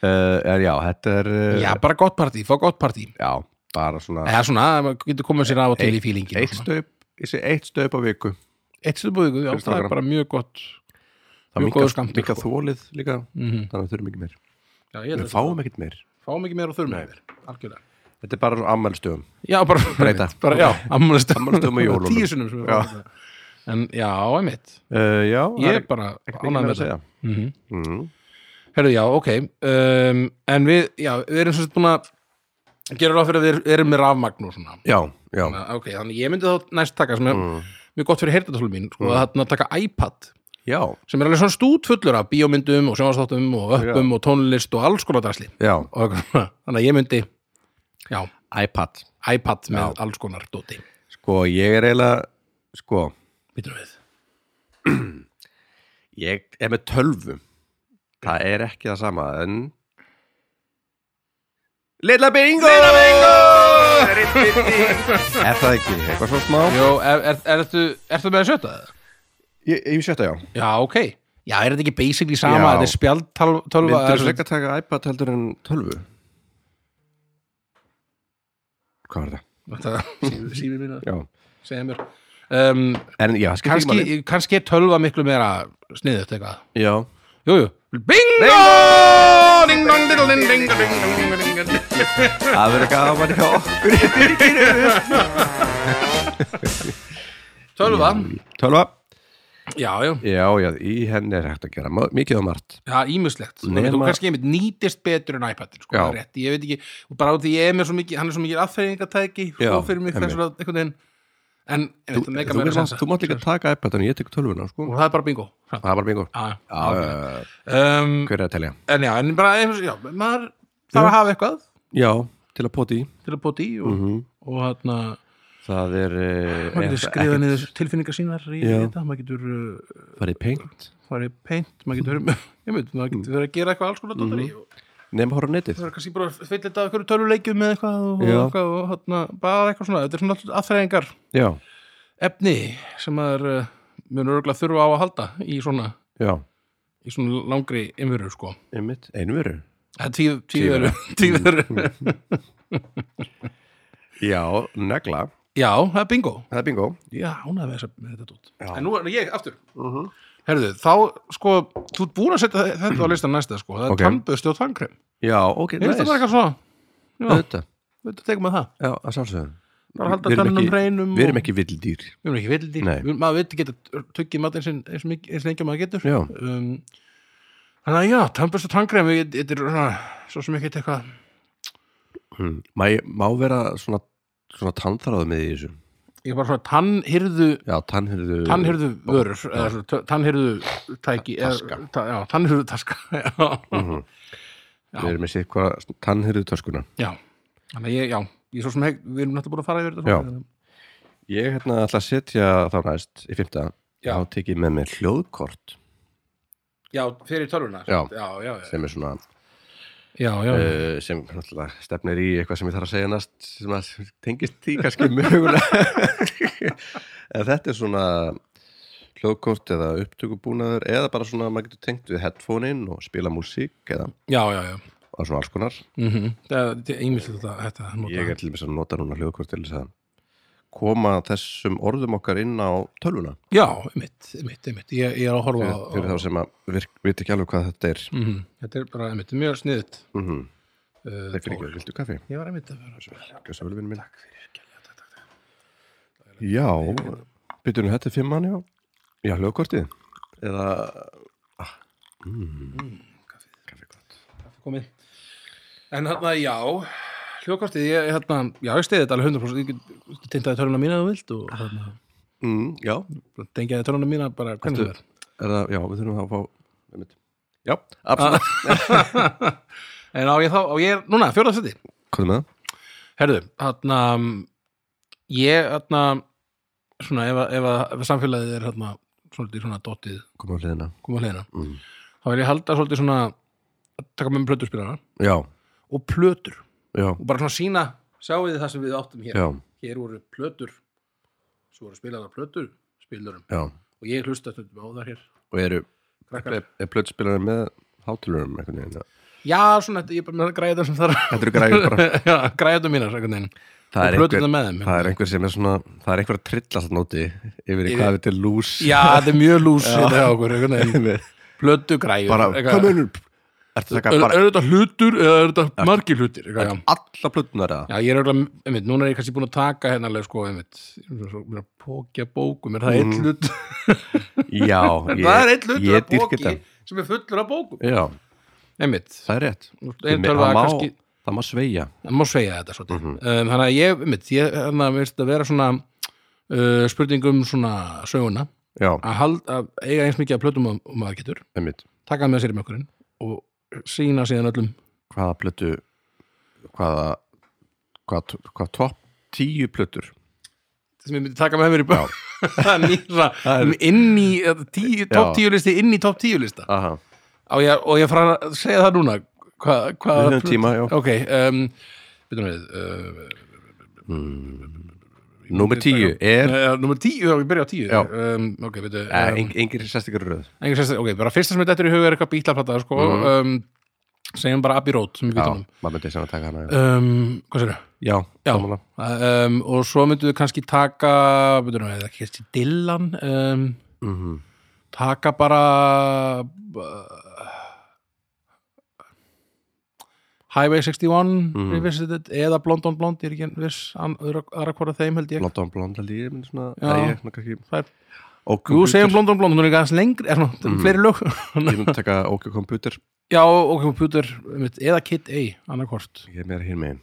Speaker 1: er, já, þetta er uh,
Speaker 2: Já, bara gott partí, fá gott partí
Speaker 1: já, bara svona
Speaker 2: eða svona, maður getur komið sér af og til í fílingin
Speaker 1: eitt stöp, þessi eitt stöp á viku
Speaker 2: eitt stöðbúðingu, já,
Speaker 1: Fyrir
Speaker 2: það er
Speaker 1: strákana.
Speaker 2: bara mjög gott
Speaker 1: það
Speaker 2: Mjög góður skammtur,
Speaker 1: líka
Speaker 2: sko.
Speaker 1: þólið líka
Speaker 2: Mhm.
Speaker 1: þannig að við þurfum ekki meir
Speaker 2: já, ég
Speaker 1: við
Speaker 2: held að fáum,
Speaker 1: fáum ekkert meir
Speaker 2: fáum ekki meira og þurfum meir algjörlega
Speaker 1: þetta er bara ammælstöðum
Speaker 2: Já, bara
Speaker 1: Breyta.
Speaker 2: bara, Já, ammælistum
Speaker 1: Afmælisdögum og jólunum.
Speaker 2: Tíu sunnum sem við
Speaker 1: Já.
Speaker 2: fáum þetta. En já, einmitt
Speaker 1: uh, já,
Speaker 2: Ég er bara
Speaker 1: ekki með
Speaker 2: ánægð með
Speaker 1: að segja
Speaker 2: þetta Mhm.
Speaker 1: mm.
Speaker 2: Herðu, já, ok um, En við, já, við erum svo búin að gera ráð fyrir að við erum með rafmagn og svona
Speaker 1: já, já,
Speaker 2: Þannig að, Ok, þannig ég myndi þá næst taka sem er
Speaker 1: Mm.
Speaker 2: mjög gott fyrir heyrðartólum mín sko, að þarna taka iPad
Speaker 1: já,
Speaker 2: sem er alveg svona stútfullur af bíómyndum og sjónastáttum og öppum og tónlist og alls konar drasli
Speaker 1: já
Speaker 2: og eitthvað svona. þannig að ég myndi já,
Speaker 1: iPad
Speaker 2: iPad með alls konar dóti
Speaker 1: sko, ég er eiginlega sko,
Speaker 2: býtum við
Speaker 1: ég er með tölvu það er ekki það sama en Lilla bingo! Lilla bingo! er það ekki eitthvað svo smá?
Speaker 2: Jó, er, er, er, ertu, ertu með að sjötta það?
Speaker 1: Ég, ég sjötta já
Speaker 2: Já, ok Já, er þetta ekki basically sama,
Speaker 1: Já.
Speaker 2: þetta er spjaldtölva
Speaker 1: Myndur þú frekar taka iPad heldur en tölvu? Hvað var það?
Speaker 2: Sýmið sí, mín að
Speaker 1: Já.
Speaker 2: segja mér um,
Speaker 1: En já, það skiptir ekki máli.
Speaker 2: kannski, kannski er tölva miklu meira sniðut eitthvað
Speaker 1: Já.
Speaker 2: Jú, jú, bingo! Ding dong, diddle, ding, ding, ding, ding, ding, ding, ding, ding.
Speaker 1: Það verður gaman hjá okkur.
Speaker 2: Tölva,
Speaker 1: Tölva?
Speaker 2: já, já,
Speaker 1: Já, já, í henni er hægt að gera ma- mikið og margt.
Speaker 2: já, ímislegt
Speaker 1: Nema-
Speaker 2: Nema... Þú kannski einmitt nýtist betur en iPadin sko,
Speaker 1: Já.
Speaker 2: það er rétt, ég veit ekki, og bara út því ég er mér svo mikið, hann er svo mikið aðferðingatæki
Speaker 1: Já,
Speaker 2: sko, fyrir mig
Speaker 1: einmitt.
Speaker 2: þess að einhvern veginn En, ég veit, það meika
Speaker 1: þú,
Speaker 2: meira
Speaker 1: mátt-
Speaker 2: sensa.
Speaker 1: þú mátt líka taka iPad en ég tek tölvuna, sko.
Speaker 2: og það er bara bingo Já,
Speaker 1: Það var bingo. Já,
Speaker 2: já, ok.
Speaker 1: eh,
Speaker 2: um,
Speaker 1: hver er að telja?
Speaker 2: en já, en bara eins og- já, maður þarf að hafa eitthvað
Speaker 1: Já, til að poti í.
Speaker 2: til að bóti í og,
Speaker 1: Mhm.
Speaker 2: og hérna
Speaker 1: Það er... eh,
Speaker 2: maður getur
Speaker 1: ekki-
Speaker 2: skrifað niður tilfinningar sínar í
Speaker 1: Já.
Speaker 2: þetta, maður getur uh,
Speaker 1: Farið paint.
Speaker 2: farið í paint, maður getur ég veit, maður getur verið að gera eitthvað alls konar mm
Speaker 1: Mhm.
Speaker 2: og
Speaker 1: Nefn horf á netið.
Speaker 2: það er kannski bara að fylla þetta af einhverju töluleikjum með eitthvað og,
Speaker 1: Já.
Speaker 2: og, eitthvað og hérna, bara eitthvað svona, þetta er svona aðþreyingar
Speaker 1: Já,
Speaker 2: efni sem maður uh, munur örgulega þurfa á að halda í svona,
Speaker 1: já.
Speaker 2: í svona langri innveru sko. Eh,
Speaker 1: Einmitt, einveru.
Speaker 2: Það er tíu- tíu- tíu-
Speaker 1: Mm. Já, negla.
Speaker 2: Já, það er bingo
Speaker 1: Það er bingo.
Speaker 2: Já, hún hefði þess að með þetta dót
Speaker 1: Já.
Speaker 2: En nú er ég aftur Herðu, þá sko, þú ert búin að setja þe- þetta á listan næsta sko, það
Speaker 1: Ok.
Speaker 2: er okay. tannböðstu og tannkrem
Speaker 1: Já, ok,
Speaker 2: Er þetta bara eitthvað svona? Já,
Speaker 1: Þetta,
Speaker 2: þetta tekum við það
Speaker 1: já, að sjálfsögum
Speaker 2: Bara halda tennum hreinum
Speaker 1: Við erum
Speaker 2: og-
Speaker 1: ekki vildýr
Speaker 2: Við erum ekki vildi,
Speaker 1: Nei.
Speaker 2: við, maður veit geta tökkið matinn sinn eins, mikið- eins lengi og maður getur
Speaker 1: Já.
Speaker 2: um, Þannig að já, tannböðstu og tannkrem við- Þetta er svona, svo sem ekki eitthvað
Speaker 1: mm. má, má vera svona, svona tannþráðu með í þessu
Speaker 2: Ég er bara svona tannhyrðu
Speaker 1: Já, tannhyrðu
Speaker 2: tannhyrðu vörur eða svona t- tannhyrðu tæki eða-
Speaker 1: Taska. Mhm.
Speaker 2: ta, já, tannhyrðu taska já, já.
Speaker 1: Við erum með sér hvað tannhyrðu töskuna
Speaker 2: já, þannig að ég, já ég svo sem heg, við erum náttúrulega búin að fara yfir þetta
Speaker 1: Já.
Speaker 2: svona.
Speaker 1: Ég hérna ætla að setja þá næst í fymta
Speaker 2: Já.
Speaker 1: Þá tek ég með mér hljóðkort
Speaker 2: já, fyrir tölvuna
Speaker 1: Já.
Speaker 2: já, já, já,
Speaker 1: sem er svona
Speaker 2: já, já.
Speaker 1: uh, sem náttúrulega stefnir í eitthvað sem ég þarf að segja næst sem að tengist því kannski mögulega en þetta er svona hljóðkort eða upptökubúnaður eða bara svona að maður getur tengt við headphone-in og spila músík eða
Speaker 2: já, já, já.
Speaker 1: og svona alls konar
Speaker 2: Mm -hmm. það er ímyndið þetta, þetta að nota.
Speaker 1: ég er til þess að nota núna hljóðkort til þess að koma þessum orðum okkar inn á tölvuna
Speaker 2: já, einmitt, einmitt, einmitt ég, ég er að horfa
Speaker 1: fyrir, fyrir
Speaker 2: á, á,
Speaker 1: þá sem að virk, veit ekki alveg hvað þetta er
Speaker 2: mm þetta er bara einmitt, mjög sniðut
Speaker 1: mm -hmm.
Speaker 2: uh,
Speaker 1: Þeir fyrir ekki, viltu kaffi?
Speaker 2: ég var einmitt að vera
Speaker 1: Gjösa vel vinur minn
Speaker 2: takk fyrir kærlega, takk, takk, takk.
Speaker 1: Já, byrjum við þetta er fimm mann já Já, hljóðkortið Eða
Speaker 2: kaffið
Speaker 1: Kaffi gott
Speaker 2: Kaffi komið En hérna, já, hljóðkortið, ég, hérna, já, ég stiði þetta alveg 100%, ég get- get tengtaði töluna mína ef þú vilt og hérna,
Speaker 1: mm, Já,
Speaker 2: tengjaði töluna mína bara hvernig það er.
Speaker 1: er það, já, við þurfum þá að fá einmitt. Já, absolutt
Speaker 2: En á ég þá, á ég, er- núna, fjóra seti,
Speaker 1: Hvað er með það?
Speaker 2: herðu, hérna, ég, hérna, svona, ef, að- ef, að- ef að samfélagið er, hérna, svolítið svona dottið,
Speaker 1: Komum á hliðina
Speaker 2: koma hliðina,
Speaker 1: mm.
Speaker 2: þá vil ég halda svolítið svona, að taka með plötuspilana
Speaker 1: Já,
Speaker 2: og plötur
Speaker 1: já,
Speaker 2: og bara svona sína, sjáu þið það sem við áttum hér.
Speaker 1: já,
Speaker 2: hér voru plötur svo voru spilaðar plötur spilurum
Speaker 1: já
Speaker 2: og ég hlusta stundum á það hér
Speaker 1: Og eru,
Speaker 2: krakkar,
Speaker 1: er, er plötspilarinn með hátilurum einhvern veginn? eða?
Speaker 2: já, svona, þetta- ég er bara með græða sem þarf
Speaker 1: Þetta eru græður bara
Speaker 2: já, græða mínar, einhvern veginn
Speaker 1: Það er,
Speaker 2: Og plöturnar
Speaker 1: einhver,
Speaker 2: með þeim.
Speaker 1: það er einhver sem er svona það er einhver að trilla þarna úti yfir í
Speaker 2: Yfir-
Speaker 1: hvað við til lús
Speaker 2: já, þetta er mjög lús þetta hjá okkur, einhvern veginn plötu græður
Speaker 1: bara, hvað
Speaker 2: er,
Speaker 1: munur ertu að taka
Speaker 2: er
Speaker 1: bara
Speaker 2: þetta hlutur eða er þetta margir hlutir eitthvað, já.
Speaker 1: alla plötunar eða
Speaker 2: já, ég er örugglega, einmitt, núna er ég kannski búin að taka hérna alveg, sko, einmitt ég er svo- mér er að pókja bókum, er það einn hlut
Speaker 1: já, Mm. ég,
Speaker 2: það er einn hlutur
Speaker 1: ég
Speaker 2: af
Speaker 1: dýrka
Speaker 2: póki sem er fullur af bókum
Speaker 1: já,
Speaker 2: einmitt,
Speaker 1: það er rétt
Speaker 2: Ein
Speaker 1: Ég me-
Speaker 2: tölva
Speaker 1: það má, Mhm.
Speaker 2: kannski-
Speaker 1: það má sveigja
Speaker 2: það má sveigja þetta svolítið um, þannig að ég, mitt, ég hérna, þannig að veist að vera svona uh, spurningum svona söguna
Speaker 1: já,
Speaker 2: að, hald, að eiga eins mikið að plötum og og maður getur
Speaker 1: einmitt,
Speaker 2: taka það með sér í mökkurinn og sína síðan öllum
Speaker 1: hvaða plötu hvaða hvað, hvað topp tíu plötur
Speaker 2: sem ég myndi taka með mér í börn Það er ný- svona, inn í tí, topp
Speaker 1: Já.
Speaker 2: tíu listi inn í topp tíu lista
Speaker 1: Aha.
Speaker 2: Á ég, og ég fara að segja það núna hvað hva,
Speaker 1: Við höfum tíma, já.
Speaker 2: ok, um, byrjum við uh,
Speaker 1: númer tíu er
Speaker 2: uh, nummer tíu, já, ég byrja á tíu
Speaker 1: Já.
Speaker 2: um, ok, byrju
Speaker 1: eh, eng- engir sérstakar röð
Speaker 2: Engin sérst, ok, bara fyrsta sem þetta er í huga er eitthvað bílaplata, sko um, segjum bara Abbey Road, sem ég
Speaker 1: Mhm. já,
Speaker 2: býtum
Speaker 1: maður myndi sem að taka hana já,
Speaker 2: um, hvað sér
Speaker 1: já,
Speaker 2: Já,
Speaker 1: sammála.
Speaker 2: um, og svo myndum við kannski taka, myndum við, ekki kannski Dylan um,
Speaker 1: Mhm.
Speaker 2: taka bara uh, Highway 61
Speaker 1: Mhm.
Speaker 2: revisited, eða Blond on Blond ég er ekki viss, an- aðra aðra hvora þeim held ég
Speaker 1: blond on blond held ég myndi svona,
Speaker 2: Já.
Speaker 1: Nei, ég, svona kannski,
Speaker 2: Það er-
Speaker 1: og
Speaker 2: Jú, segjum
Speaker 1: computer. Mhm.
Speaker 2: Blond on Blond, hún er ekki aðeins lengri er, svona, fleiri lög
Speaker 1: ég myndi taka okkur kompjúter
Speaker 2: Já, og kompjútur, einmitt, eða Kid A annarkvort,
Speaker 1: ég er meira hér megin,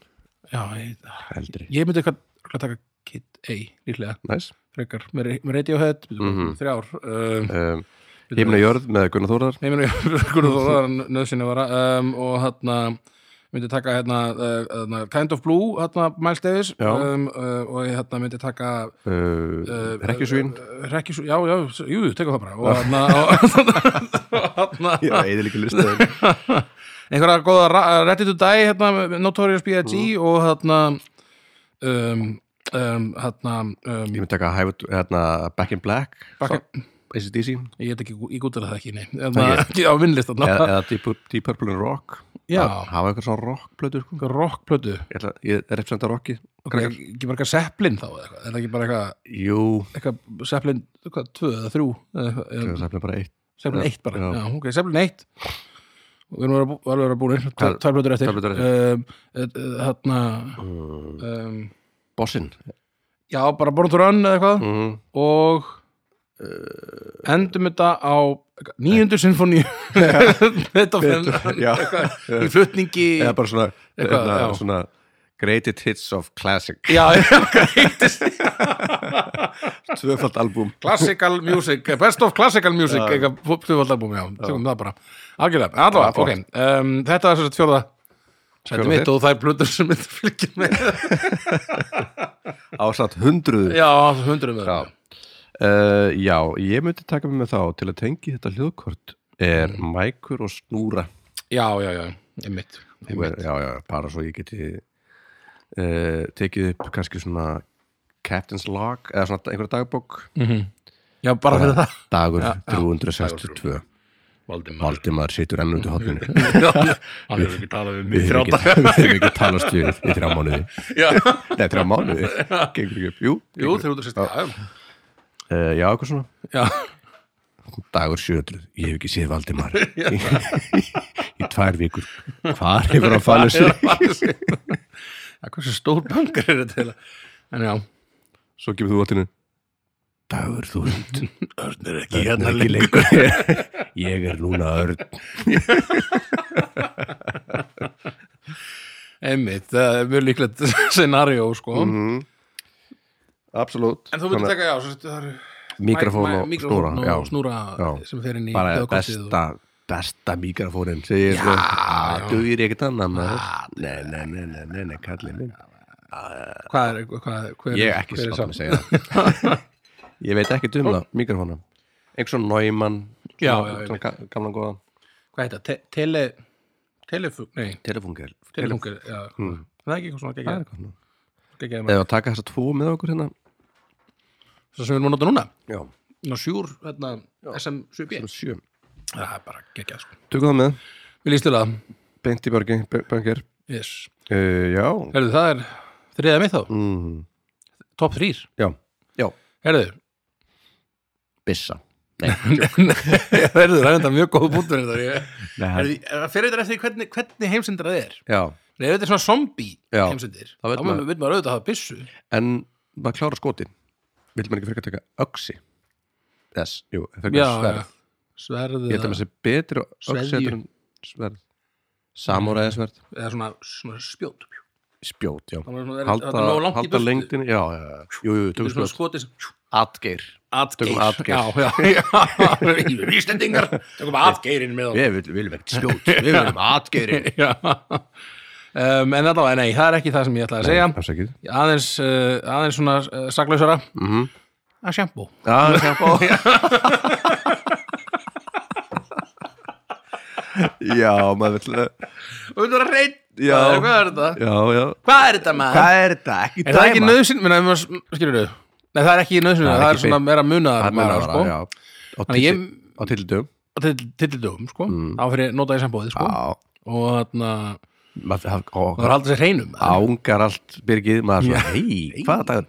Speaker 2: já, ég,
Speaker 1: eldri
Speaker 2: ég myndi eitthvað örugglega taka Kid A líklega,
Speaker 1: næs,
Speaker 2: frekar, með, re- með Radiohead
Speaker 1: Mhm.
Speaker 2: þrjár um,
Speaker 1: um, heimna jörð með Gunnar Þórar
Speaker 2: heiminu Gunnar Þórar nöðsynni vara um, og hérna myndi taka hérna, uh, hérna Kind of Blue, hérna Miles Davis
Speaker 1: Já.
Speaker 2: um, uh, og ég hérna myndi taka Eh,
Speaker 1: uh, Rekkjusvín
Speaker 2: Rekkjusvín, já, já, s- jú, tekum það bara og hérna og hérna
Speaker 1: Já, eða líka listaðið
Speaker 2: einhverja góða ra- eh, Ready to Die hérna, Notorious B.I.G.
Speaker 1: Mhm.
Speaker 2: og hérna um, um, hérna um,
Speaker 1: Ég myndi taka hæfut, hérna, Back in Black
Speaker 2: Back
Speaker 1: in ACDC eða,
Speaker 2: ég get ekki, ég gútið það ekki, nei hérna, ekki á vinnlist hérna,
Speaker 1: eða Deep, Pur- Deep Purple and Rock
Speaker 2: Já.
Speaker 1: Að Hafa eitthvað svona rockplötu sko.
Speaker 2: rockplötu
Speaker 1: Ég, ætla- ég er representa rockið
Speaker 2: okay, ekki ekki bara eitthvað Zeppelin þá eða eitthvað, er það ekki bara eitthvað
Speaker 1: Jú,
Speaker 2: Um. eitthvað Zeppelin, hvað, tvö eða þrjú eða
Speaker 1: það
Speaker 2: eitthvað,
Speaker 1: er
Speaker 2: eða
Speaker 1: sefnilega bara eitt
Speaker 2: Zeppelin eitt bara,
Speaker 1: Já.
Speaker 2: já, ok, Zeppelin eitt og við erum að vera bú- alveg að vera búinir
Speaker 1: Hvað-
Speaker 2: tvær blöður eftir
Speaker 1: tvær plötur
Speaker 2: Um, eh, eh, þarna um,
Speaker 1: Mm. Bossinn
Speaker 2: já, bara Born to Run eða eitthvað
Speaker 1: mm.
Speaker 2: og eh, endum þetta á nýjundur sinfóni þetta fenn
Speaker 1: Já,
Speaker 2: í flutningi
Speaker 1: eða bara svona,
Speaker 2: Eitthvað,
Speaker 1: hérna,
Speaker 2: já.
Speaker 1: svona Greatest Hits of Classic
Speaker 2: já, já, greitist
Speaker 1: Tvöfald albúm
Speaker 2: Classical music, best of classical music eitthvað fjóðvaldalbum, já, tökum það bara algjörlega,
Speaker 1: Já,
Speaker 2: allavega,
Speaker 1: flott.
Speaker 2: ok um, þetta er svo sett fjóða sætti
Speaker 1: Fjórða
Speaker 2: mitt
Speaker 1: þitt.
Speaker 2: og það er blöður sem myndir fylgjum með
Speaker 1: Ásatt hundruðu
Speaker 2: já, hundruð með
Speaker 1: Já. Uh, já, ég myndi taka mig með þá til að tengi þetta hljóðkort er
Speaker 2: Mm.
Speaker 1: mækur og snúra
Speaker 2: já, já, já, ég mitt
Speaker 1: Þú er, já, já, bara svo ég geti uh, tekið upp kannski svona Captain's Log eða svona einhverja dagbók
Speaker 2: já, bara fyrir það
Speaker 1: dagur 362
Speaker 2: Valdimar,
Speaker 1: Valdimar situr enn út í hotninu
Speaker 2: hann hefur ekki talað við mig
Speaker 1: við
Speaker 2: þrjá daga
Speaker 1: hefum ekki talast við í þrjá mánuði
Speaker 2: Já.
Speaker 1: Nei, þrjá mánuði Gengur ekki upp, jú,
Speaker 2: jú, þrjá daga
Speaker 1: uh, Já, eitthvað svona
Speaker 2: já,
Speaker 1: dagur 700, ég hef ekki séð Valdimar í, í tvær vikur hvar hefur hann falið
Speaker 2: já,
Speaker 1: sér
Speaker 2: já hversu stór bankar er þetta eiginlega? en já,
Speaker 1: svo kemur þú vatninu dagur þú hund,
Speaker 2: örn er ekki
Speaker 1: hérna
Speaker 2: hérna
Speaker 1: ekki
Speaker 2: lengur
Speaker 1: leikur ég er núna örn
Speaker 2: einmitt, það er mjög líklegt scenario, sko
Speaker 1: mm. absolutt
Speaker 2: En þú myndir taka, já, svo þetta það eru
Speaker 1: mikrofón
Speaker 2: mæ-
Speaker 1: og snúra
Speaker 2: mikrofón
Speaker 1: já.
Speaker 2: og snúra
Speaker 1: Já.
Speaker 2: sem fer inn í
Speaker 1: bara
Speaker 2: hljóðkortið og-
Speaker 1: besta besta mikrofónin segir þú, að duðir ekkert annað
Speaker 2: Ah,
Speaker 1: maður. nei, nei, nei, nei, nei, nei, kallið minn
Speaker 2: Hvað er, hvað er, hver,
Speaker 1: Ég ekki
Speaker 2: hver
Speaker 1: sátt
Speaker 2: er sá?
Speaker 1: með að segja það Ég veit ekki um það, mikrofónum Einhver svona Neumann
Speaker 2: Já,
Speaker 1: svona-
Speaker 2: já, ég
Speaker 1: svona ga- Gamla góða
Speaker 2: Hvað heit það? Te tele Telefug, nei,
Speaker 1: Telefóngel
Speaker 2: telefungur já.
Speaker 1: Hmm.
Speaker 2: Það er ekki eitthvað svona geggjað-
Speaker 1: Eða
Speaker 2: geggjað maður.
Speaker 1: að taka þessa tvo með okkur hérna
Speaker 2: Svo sem við erum að nota núna
Speaker 1: Já,
Speaker 2: Ná sjúr, hérna, SM7B
Speaker 1: sjö
Speaker 2: Það er bara geggjað, sko
Speaker 1: Tökum það með
Speaker 2: Við lístum það
Speaker 1: beint í börgi, böngir
Speaker 2: yes.
Speaker 1: uh, Já
Speaker 2: Herðu, það er þriða mitt þá,
Speaker 1: mm.
Speaker 2: topp þrýr
Speaker 1: Já, já,
Speaker 2: Herðu,
Speaker 1: bissa
Speaker 2: Herðu, það er þetta mjög góð punktur þetta ég-
Speaker 1: Nei,
Speaker 2: Herðu, það fyrir þetta eftir því hvernig, hvernig heimsendra það er
Speaker 1: Já,
Speaker 2: Nei, ef þetta er svona zombie
Speaker 1: Já.
Speaker 2: heimsendir
Speaker 1: Það veit
Speaker 2: þá
Speaker 1: maður.
Speaker 2: maður- veit maður auðvitað að hafa byssu
Speaker 1: en maður klára skoti Vill maður ekki frekar taka öksi Þess, jú, frekar
Speaker 2: Já,
Speaker 1: sverð
Speaker 2: já. Sverð
Speaker 1: Ég held að maður sé betri á öksi
Speaker 2: Sveðju.
Speaker 1: heldur en sverð Samúræði sverð
Speaker 2: eða svona, svona spjót
Speaker 1: Spjót, já
Speaker 2: Það var svona-
Speaker 1: Halda,
Speaker 2: þetta er nógu langt í
Speaker 1: halda
Speaker 2: burtu.
Speaker 1: lengdin Já, já, já, jú, jú,
Speaker 2: Þetta er
Speaker 1: tökum
Speaker 2: svona
Speaker 1: spjót
Speaker 2: skotið sem
Speaker 1: Atgeir
Speaker 2: Atgeir
Speaker 1: Tökum atgeir.
Speaker 2: Já, já, já Íslendingar Tökum atgeirinn með
Speaker 1: Við vil- viljum ekki spjót, við viljum atgeirinn
Speaker 2: Já um, En allavega, nei, það er ekki það sem ég ætlaði að segja
Speaker 1: Afsakið
Speaker 2: Aðeins, uh, aðeins svona uh, saklausara mm
Speaker 1: Mhm.
Speaker 2: -hmm. Að sjampo
Speaker 1: Já, sjampo Já, maður vill
Speaker 2: Og við erum að reynd
Speaker 1: Já.
Speaker 2: Hvað er þetta?
Speaker 1: Já, já
Speaker 2: Hvað er þetta maður?
Speaker 1: er þetta? Ekki
Speaker 2: Er það ekki nöðsyn? Skilur þau? Nei, það er ekki nöðsyn
Speaker 1: Það er
Speaker 2: Það er
Speaker 1: ekki
Speaker 2: svona meira munaðar
Speaker 1: Það er
Speaker 2: bara, sko.
Speaker 1: bara, já Á
Speaker 2: Þannig ég-
Speaker 1: tilli- Á tildum
Speaker 2: Á til- Tillidögum, sko Þá fyrir notaði sambóðið, sko
Speaker 1: Mm. Já
Speaker 2: Og þarna
Speaker 1: Maður haf-
Speaker 2: Það var
Speaker 1: og-
Speaker 2: að halda sér hreinum
Speaker 1: Ángar allt Birgið maður svona Hei, hvað er dagur?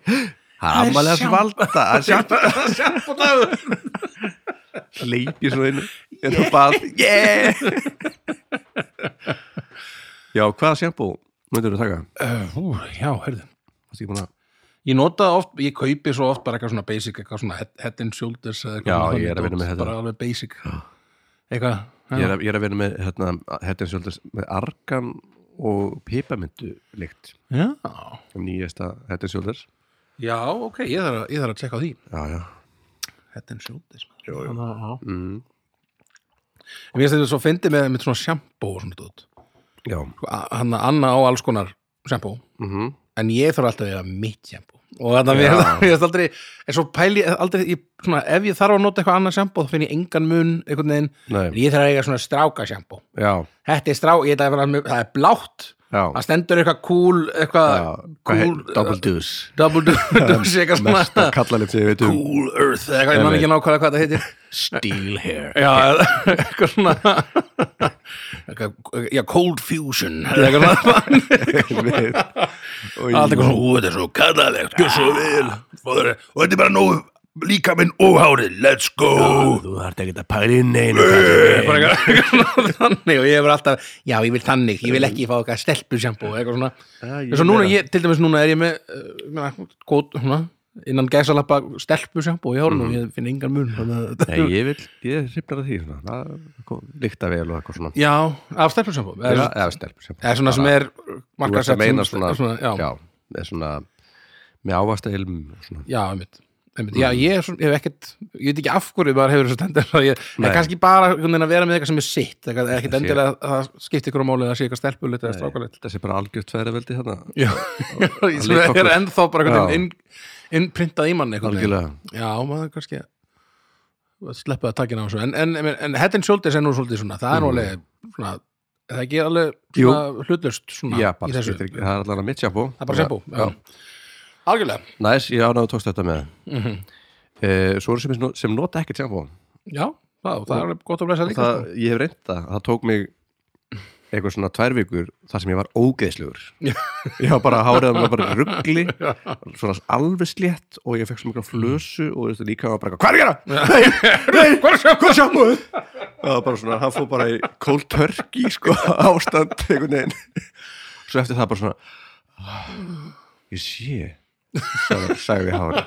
Speaker 1: Það er ammælega sem valda Það er sjampo
Speaker 2: Sambóðagur
Speaker 1: Leipi svo inn Er það bað Yeah Já, hvaða sjampo myndur þú taka?
Speaker 2: Ú, Eh, já, heyrðu
Speaker 1: Það er ekki búin að
Speaker 2: Ég nota oft, ég kaupi svo oft bara eitthvað svona basic, eitthvað svona head, head and shoulders eða eitthvað
Speaker 1: Já,
Speaker 2: svona
Speaker 1: ég er að vinna
Speaker 2: dót,
Speaker 1: með þetta.
Speaker 2: Bara alveg basic Eitthvað, eh,
Speaker 1: Ég er, að, ég er að vera með hérna, hérna svolítið með argan og pipamintu líkt
Speaker 2: já
Speaker 1: um nýjasta hérna svolítið
Speaker 2: Já, ok, ég þarf, að, ég þarf að tjekka á því
Speaker 1: Já, já
Speaker 2: Head and shoulders
Speaker 1: Jú, jú.
Speaker 2: Þannig að- já.
Speaker 1: mm.
Speaker 2: Ég finnst þetta svo fyndi með, með svona shampoo og svona dót
Speaker 1: Já,
Speaker 2: Sko, Hann að Anna á alls konar shampoo
Speaker 1: mm
Speaker 2: en ég þarf alltaf að eiga mitt sjambó og þannig að mér er aldrei en svo pæli, ég aldrei, ég, svona, ef ég þarf að nota eitthvað annað sjambó þá finn ég engan mun einhvern veginn,
Speaker 1: Nei.
Speaker 2: en ég þarf að eiga svona stráka sjambó
Speaker 1: já,
Speaker 2: þetta er strá, ég ætla að vera með, það er blátt
Speaker 1: já,
Speaker 2: það stendur eitthvað cool eitthvað
Speaker 1: já. Hvað
Speaker 2: cool,
Speaker 1: heit, double deuce
Speaker 2: double douche, eitthvað
Speaker 1: Mesta
Speaker 2: svona
Speaker 1: kallalegt sem ég veit um
Speaker 2: cool earth, eða eitthvað, ég man ekki nákvæmlega hvað það heitir
Speaker 1: Steel hair
Speaker 2: já, eða eitthvað svona eitthvað, já, cold fusion eða eitthvað svona Allt eitthvað svona, ú, þetta er Ah. svo kallilegt, gjör svo vel Fóður, Og þetta er bara nógu líka minn óhárið, let's go
Speaker 1: Þú þarft ekki að pæla inn einu
Speaker 2: Bara eitthvað- eitthvað svona Þannig og ég hefur alltaf, já ég vil þannig, ég vil ekki fá eitthvað stelpur sjampó eitthvað svona En svo núna, ég, til dæmis núna er ég með, uh, með gót, svona, innan gæsalappa stelpur sjampó í hárinu Ég finn engan mun þannig að þetta-
Speaker 1: Nei, ég vil, ég hrifnar að því svona. Það líkta vel og eitthvað svona
Speaker 2: Já, af stelpur sjampó
Speaker 1: Já,
Speaker 2: Eða
Speaker 1: eða stelp sem-
Speaker 2: eða svona sem
Speaker 1: Bara-
Speaker 2: er
Speaker 1: Þú ert
Speaker 2: markaðsett
Speaker 1: að meina
Speaker 2: sem-
Speaker 1: svona,
Speaker 2: Já,
Speaker 1: já, eða svona með ávasta ilm svona.
Speaker 2: Já, einmitt, einmitt. Já, ég er svona, ég hef ekkert ég veit ekki af hverju maður hefur þessu tendur ég, en
Speaker 1: Nei.
Speaker 2: kannski bara einhvern veginn að vera með eitthvað sem er sitt eitthvað, ekkert
Speaker 1: Það sé-
Speaker 2: endilega að það skipti ykkur á máli að það sé eitthvað stelpulegt eða strákulegt
Speaker 1: þessi bara algjört tveiraveldi hérna
Speaker 2: Já, sem
Speaker 1: leika
Speaker 2: er
Speaker 1: okkur.
Speaker 2: ennþá bara einhvern
Speaker 1: Já.
Speaker 2: veginn inn- innprintað í mann einhvern veginn
Speaker 1: algjörlega,
Speaker 2: Já, maður kannski sleppa að takina á þessu en, en, en, en Head and Shoulders er nú svolítið svona það er nú alveg svona er það ekki alveg
Speaker 1: Mm. Jú.
Speaker 2: svona hlutlust svona
Speaker 1: já,
Speaker 2: í
Speaker 1: bara,
Speaker 2: þessu
Speaker 1: skiptir ekki- það er allavega mitt sjampó
Speaker 2: það er bara sempú Algjörlega, Mhm.
Speaker 1: næs, ég ánáðu tókst þetta með eh, svo eru sem, sem nota ekkert sjampó
Speaker 2: já, það, það er alveg gott að blessa líka sko.
Speaker 1: það, ég hef reynt það, það tók mig eitthvað svona tvær vikur þar sem ég var ógeðslugur ég var bara hárið að mér bara ruggli svona alveg slétt og ég fekk svo mikla flösu og þetta líka var bara eitthvað, hvað er að gera? Nei, nei, hvað er sjámuð? það var bara svona, hann fór bara í cold turkey sko, ástand einhvern veginn svo eftir það bara svona "Ah, ég sé sagði- sagði hárið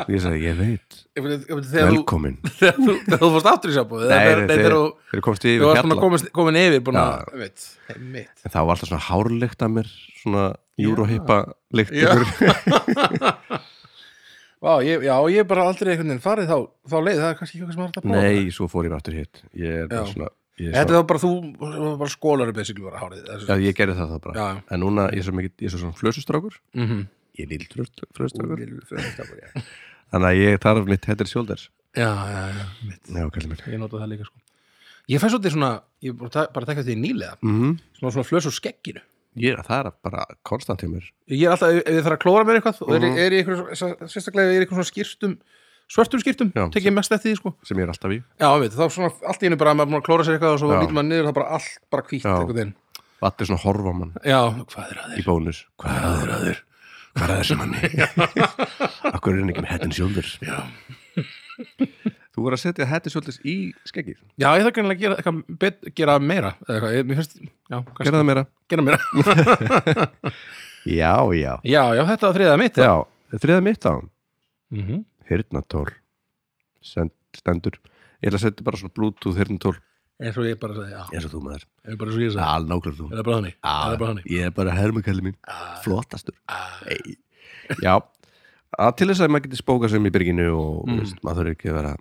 Speaker 1: og ég sagði, ég veit
Speaker 2: Ég veit- ég veit, þegar þú-
Speaker 1: velkomin
Speaker 2: þegar þú þegar þú fórst aftur í sjápu
Speaker 1: Nei,
Speaker 2: þegar
Speaker 1: nei,
Speaker 2: þegar
Speaker 1: þeir-
Speaker 2: þú
Speaker 1: þeir komst yfir
Speaker 2: þú varst
Speaker 1: hjalla.
Speaker 2: búin að komast- komin yfir búin
Speaker 1: Já.
Speaker 2: að einmitt, einmitt.
Speaker 1: En það var alltaf svona hárlegt að mér svona júróhippa lykt ykkur
Speaker 2: Vá, ég- já, ég er bara aldrei einhvern veginn farið þá, þá leið, það er kannski ekki eitthvað sem var hægt að prófa
Speaker 1: Nei, svo fór ég bara aftur hitt Ég er bara
Speaker 2: Já.
Speaker 1: svona ég, er
Speaker 2: Þetta
Speaker 1: svo,
Speaker 2: er þá bara þú, þú var bara skólari basically bara hárið það er svo-
Speaker 1: já, ég gerði það þá bara
Speaker 2: Já.
Speaker 1: En núna, ég er svo mikið, ég er svo svona flösustrákur
Speaker 2: Mhm.
Speaker 1: Ég er lill flösustrákur
Speaker 2: Já,
Speaker 1: Þannig að ég þarf mitt header shoulders
Speaker 2: já, já, einmitt.
Speaker 1: Já, kallið mér
Speaker 2: ég nota það líka sko Ég fæ svolítið svona, ég bara ta- bara tekja þetta í nýlega
Speaker 1: mm
Speaker 2: svona svona flös og skegginu
Speaker 1: ég, Það er bara konstant hjá mér Mhm.
Speaker 2: Ég er alltaf, ef ef ég þarf að klóra mér eitthvað og er, er ég eitthvað, sérstaklega ef ég er eitthvað svona skýrstum svörtum skiptum,
Speaker 1: Já.
Speaker 2: tekið mest eftir því sko
Speaker 1: sem ég er alltaf í
Speaker 2: Já, veit, þá svona allt í einu bara að maður búin að klóra sér eitthvað og svo
Speaker 1: Já.
Speaker 2: lítur maður niður það bara allt bara hvítt
Speaker 1: Já.
Speaker 2: einhvern veginn.
Speaker 1: og allir svona horfa á mann
Speaker 2: Já, hvað er að
Speaker 1: í bónus hvað er aður aður? hvað er aður sem manni? akkur er hann ekki með hættin sjóldur?
Speaker 2: Já.
Speaker 1: þú voru að setja hættin sjóldurs í skeggið
Speaker 2: Já, ég þarf greinlega að gera, eitthvað bet, gera meira eða eitthvað, ég, mér finnst, já, kannski
Speaker 1: gerða það meira?
Speaker 2: gera meira
Speaker 1: já, já
Speaker 2: Já, já, þetta var þriðað mitt
Speaker 1: já, þriða mitt á hann
Speaker 2: mm -hmm.
Speaker 1: hirtnatól Send- stendur ég ætla að setja bara svona bluetooth hirtnatól
Speaker 2: eins og ég bara sagði, já,
Speaker 1: eins og þú maður
Speaker 2: ég bara svo ég sagði
Speaker 1: alveg nákvæmlega þú
Speaker 2: Er það bara þannig? Er það bara þannig?
Speaker 1: Ah, ég er bara hermukæli mín flottastur
Speaker 2: Ah.
Speaker 1: Hey. já, að til þess að maður getur spókað sem í byrginu og
Speaker 2: Mhm.
Speaker 1: mm. veist, maður þurfi ekki að vera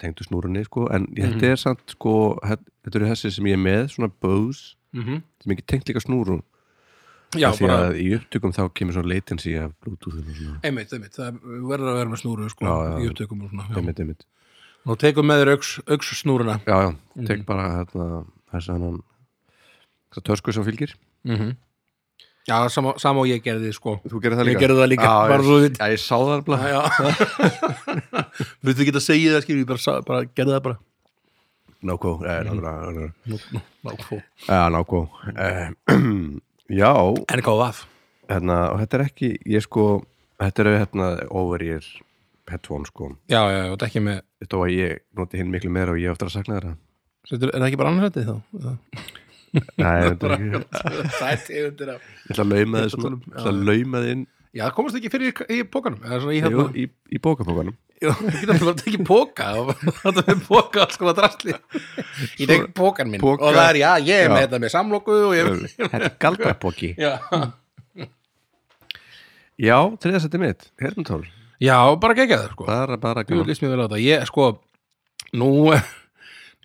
Speaker 1: tengdu snúrunni sko, en þetta er samt sko, hæ- þetta eru þessi sem ég er með svona Bose,
Speaker 2: Mhm.
Speaker 1: sem ekki tengt líka snúrun
Speaker 2: Já,
Speaker 1: af því
Speaker 2: bara,
Speaker 1: að í upptökum þá kemur svona latency af bluetoothinu og svona
Speaker 2: einmitt, einmitt það verður að vera með snúru, sko,
Speaker 1: Já, já.
Speaker 2: í upptökum og svona, já.
Speaker 1: einmitt, einmitt.
Speaker 2: Nú tekum með þér auks, auks snúruna
Speaker 1: já, já,
Speaker 2: Mhm.
Speaker 1: tek bara hérna, þess að hann þessa tösku sem fylgir
Speaker 2: -hmm. Já, sama, sama og ég gerði, sko
Speaker 1: þú gerir það
Speaker 2: Ég
Speaker 1: líka?
Speaker 2: gerði það líka,
Speaker 1: já,
Speaker 2: bara
Speaker 1: ég,
Speaker 2: svo þú veit.
Speaker 1: já, ég sá það alveg
Speaker 2: Já Við þú geta að segja það, skilur, ég bara, sa- bara gerði það bara
Speaker 1: nákó, eh, nákó,
Speaker 2: Nú- nú- nákvæm.
Speaker 1: Já, nákó Já,
Speaker 2: NKVF
Speaker 1: hérna, og þetta er ekki ég sko, þetta eru hérna over ear headphone sko
Speaker 2: Já, já, já, þetta er ekki með
Speaker 1: þetta var ég noti hinn miklu meira og ég á eftir að sakna þeirra
Speaker 2: Setur, er það ekki bara annarsættið þá?
Speaker 1: Nei, þetta er ekki
Speaker 2: það er tegundir af
Speaker 1: Ég ætla að lauma þið svona,
Speaker 2: Ég ætla að tala um-
Speaker 1: ég ætla að lauma þið inn
Speaker 2: Já, það komast ekki fyrir í, í pókanum Það er svona í
Speaker 1: jú,
Speaker 2: hérna
Speaker 1: í, í bókapókanum
Speaker 2: Jú, Þú getur alltaf bara að tekið póka og þetta er póka alls konar drastli Ég tek pókan minn
Speaker 1: Poka.
Speaker 2: og það er, já, ég er með
Speaker 1: Já.
Speaker 2: þetta með samloku og ég
Speaker 1: Þetta er galdrapóki
Speaker 2: Já,
Speaker 1: Já, þriðasætti mitt, Hérna, hernatól
Speaker 2: já bara gegja það sko
Speaker 1: Bara, bara
Speaker 2: Jú,
Speaker 1: gaman
Speaker 2: líst mér vel á þetta Ég, sko, nú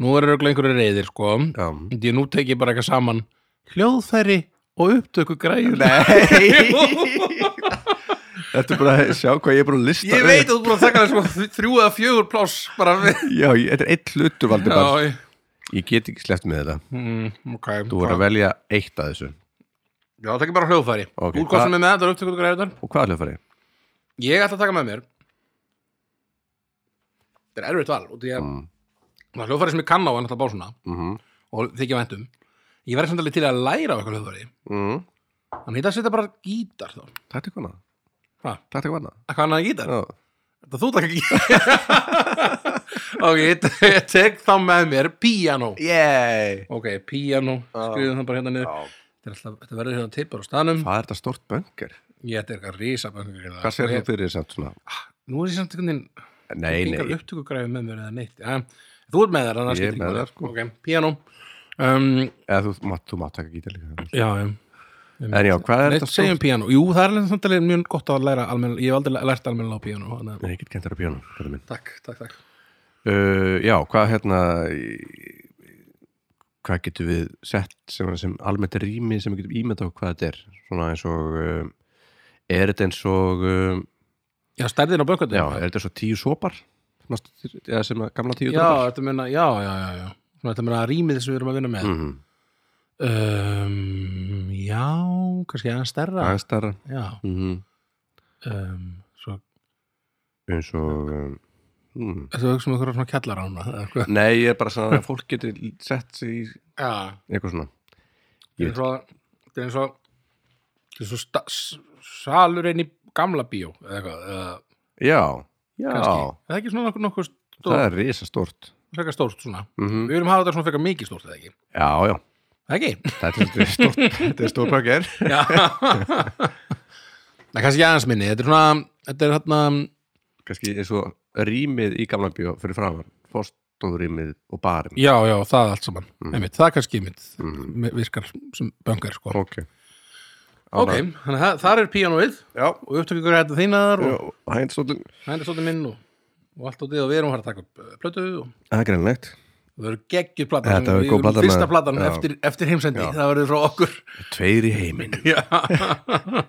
Speaker 2: nú er auðvitað einhverju reyðir, sko
Speaker 1: Já.
Speaker 2: Því nú tek ég bara eitthvað saman hljóðfæri og upptöku græður
Speaker 1: Nei Þetta er bara að sjá hvað ég er búin að lista
Speaker 2: Ég
Speaker 1: upp.
Speaker 2: veit að þú búin að taka það sko þrjú eða fjögur pláss bara við
Speaker 1: Já, ég- þetta er eitt hlutur valdi bara
Speaker 2: Já, ég-
Speaker 1: Ég get ekki sleppt með þetta
Speaker 2: mm, ok
Speaker 1: Þú voru að velja eitt af þessu
Speaker 2: Já, það er bara hljóðfæri
Speaker 1: Ok,
Speaker 2: Úr hvað
Speaker 1: hva-
Speaker 2: sem er með þetta er upptökuðu græðunar
Speaker 1: Og hvað er hljóðfæri?
Speaker 2: Ég ætla að taka með mér Þetta er erfitt val og því að
Speaker 1: Mm.
Speaker 2: það hljóðfæri sem ég kann á en alltaf básuna
Speaker 1: Mm
Speaker 2: og þykja væntum Ég verði samt alveg til að læra á eitthvað hljóðfæri
Speaker 1: mm.
Speaker 2: Þannig þetta setja bara gítar þá
Speaker 1: Takk til annað
Speaker 2: Ha?
Speaker 1: Takk til annað
Speaker 2: Hvað annað en gítar?
Speaker 1: Já.
Speaker 2: Þetta þú taka gítar Ok, ég te- ég tek þá með mér piano
Speaker 1: Yay
Speaker 2: Ok, piano, skriðum það bara hérna niður Þetta er alltaf- þetta verður hérna tippar á stanum
Speaker 1: Hvað er þetta stort böngar?
Speaker 2: Ég þetta er eitthvað risa Hvað
Speaker 1: Hvað sér þú fyrir þér samt svona?
Speaker 2: Nú er ég samt einhvern veginn
Speaker 1: Nei,
Speaker 2: engar
Speaker 1: nei
Speaker 2: upptökugræfi með mér eða neitt ja, þú ert með þær annars
Speaker 1: Ég er
Speaker 2: skiptir
Speaker 1: með
Speaker 2: máli.
Speaker 1: þær, sko.
Speaker 2: ok, piano um,
Speaker 1: Eða þú mátt, þú mátt taka gítar líka
Speaker 2: já, já
Speaker 1: En já, hvað er
Speaker 2: Nei,
Speaker 1: þetta
Speaker 2: segjum
Speaker 1: stort?
Speaker 2: piano, jú, það er alveg samt alveg mjög gott að læra almenn, ég hef aldrei lært almenn á piano þannig.
Speaker 1: Nei, ég get kentar að pjónu uh,
Speaker 2: að- takk, takk, takk
Speaker 1: Mm. Já, hvað hérna í- Hvað getum við sett sem, sem almennt rými sem við getum ímynda á hvað þetta er? Svona eins og um, Er þetta eins og um,
Speaker 2: já, stærðin á bökvöldu
Speaker 1: Já, er þetta eins og tíu sopar? Sem, að- sem að gamla tíu
Speaker 2: já,
Speaker 1: dropar?
Speaker 2: þetta meina, já, já, já, já. Svona, þetta meina rýmið sem við erum að vinna með
Speaker 1: Mhm.
Speaker 2: um, já, kannski aðeins stærra
Speaker 1: Aðeins stærra
Speaker 2: já
Speaker 1: Mhm.
Speaker 2: um, svo,
Speaker 1: eins og um, hmm.
Speaker 2: þetta hugsa um eitthvað svona kjallar ána
Speaker 1: Nei, ég er bara svona að fólk getur sett sig í
Speaker 2: já,
Speaker 1: eitthvað svona Ég
Speaker 2: Þetta er eins og þetta er eins og sta- s- salurinn í gamla bíó eða eitthvað eða
Speaker 1: Já, já,
Speaker 2: kannski, Er það er ekki svona nokkuð nokkuð
Speaker 1: það
Speaker 2: stórt,
Speaker 1: er risastórt
Speaker 2: frekar stórt svona
Speaker 1: mm
Speaker 2: við erum að hafa þetta svona frekar mikið stórt eða ekki
Speaker 1: Já, já,
Speaker 2: eða ekki,
Speaker 1: þetta er svolítið stórt Þetta er stórt pakkar
Speaker 2: já það er kannski aðeins minni, þetta er svona þetta er hérna,
Speaker 1: Kannski eins og rýmið í gamla bíó fyrir framar Fórstóðrýmið og barinn
Speaker 2: já já, það allt saman
Speaker 1: Mm.
Speaker 2: einmitt, það er kannski einmitt
Speaker 1: Mhm.
Speaker 2: mm. virkar sem böngar sko
Speaker 1: Ok
Speaker 2: ok, þannig að það er píanóið
Speaker 1: Já,
Speaker 2: og upptökkur hættu þínar og
Speaker 1: hænstóttum
Speaker 2: hættu svolítið minn og, og allt og þið og við erum að fara að taka upp eh, plötu og
Speaker 1: Það er greinlegt
Speaker 2: Það verður geggjur platan
Speaker 1: Þetta verður
Speaker 2: Við
Speaker 1: góð
Speaker 2: erum
Speaker 1: platan,
Speaker 2: Fyrsta
Speaker 1: maður.
Speaker 2: platan
Speaker 1: Já.
Speaker 2: eftir, eftir heimsendi Það verður frá okkur
Speaker 1: Tveir í heiminn,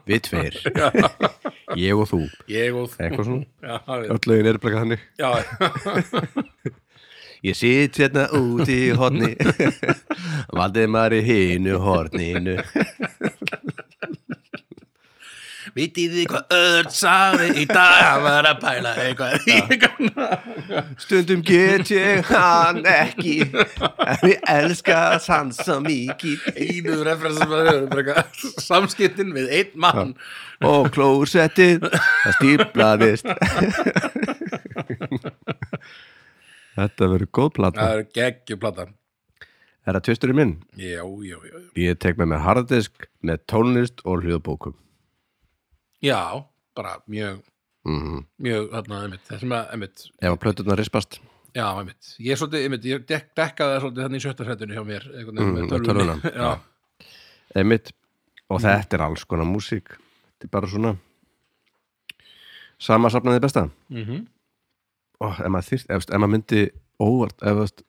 Speaker 1: við tveir Ég og þú
Speaker 2: Ég og þú
Speaker 1: Eitthvað svona,
Speaker 2: Já, við-
Speaker 1: öll lögin er bara þannig
Speaker 2: já,
Speaker 1: Ég sitt hérna úti í horni Valdimar í hinu horninu
Speaker 2: vitið þið hvað öll sagði í dag hann var að pæla eitthvað í eitthvað
Speaker 1: Stundum get ég hann ekki En ég elska hann svo mikið
Speaker 2: einu referensum að höfum bara eitthvað samskiptin við einn mann
Speaker 1: Og klósettið Það stíplaðist Þetta verður góð plata
Speaker 2: það er geggjuplata
Speaker 1: Er það tvisturinn minn?
Speaker 2: já, já, já, já.
Speaker 1: Ég tek með mér hardisk með tónlist og hljóðbókum
Speaker 2: já, bara mjög mjög, þarna, einmitt, þessum að, einmitt
Speaker 1: Mhm. Ef að plöturnar rispast
Speaker 2: já, einmitt, ég er svolítið, einmitt ég dek, dekkaði það svolítið þannig í sjötta hrættinu hjá mér einhvern veginn
Speaker 1: Mm,
Speaker 2: með
Speaker 1: með
Speaker 2: tölvunni.
Speaker 1: tölvuna.
Speaker 2: já,
Speaker 1: Einmitt.
Speaker 2: Mm.
Speaker 1: Og þetta er alls konar músík Þetta er bara svona Sama safnaði besta
Speaker 2: mhm,
Speaker 1: oh, ef, maður þyrst, ef, ef maður myndi óvart ef, ef,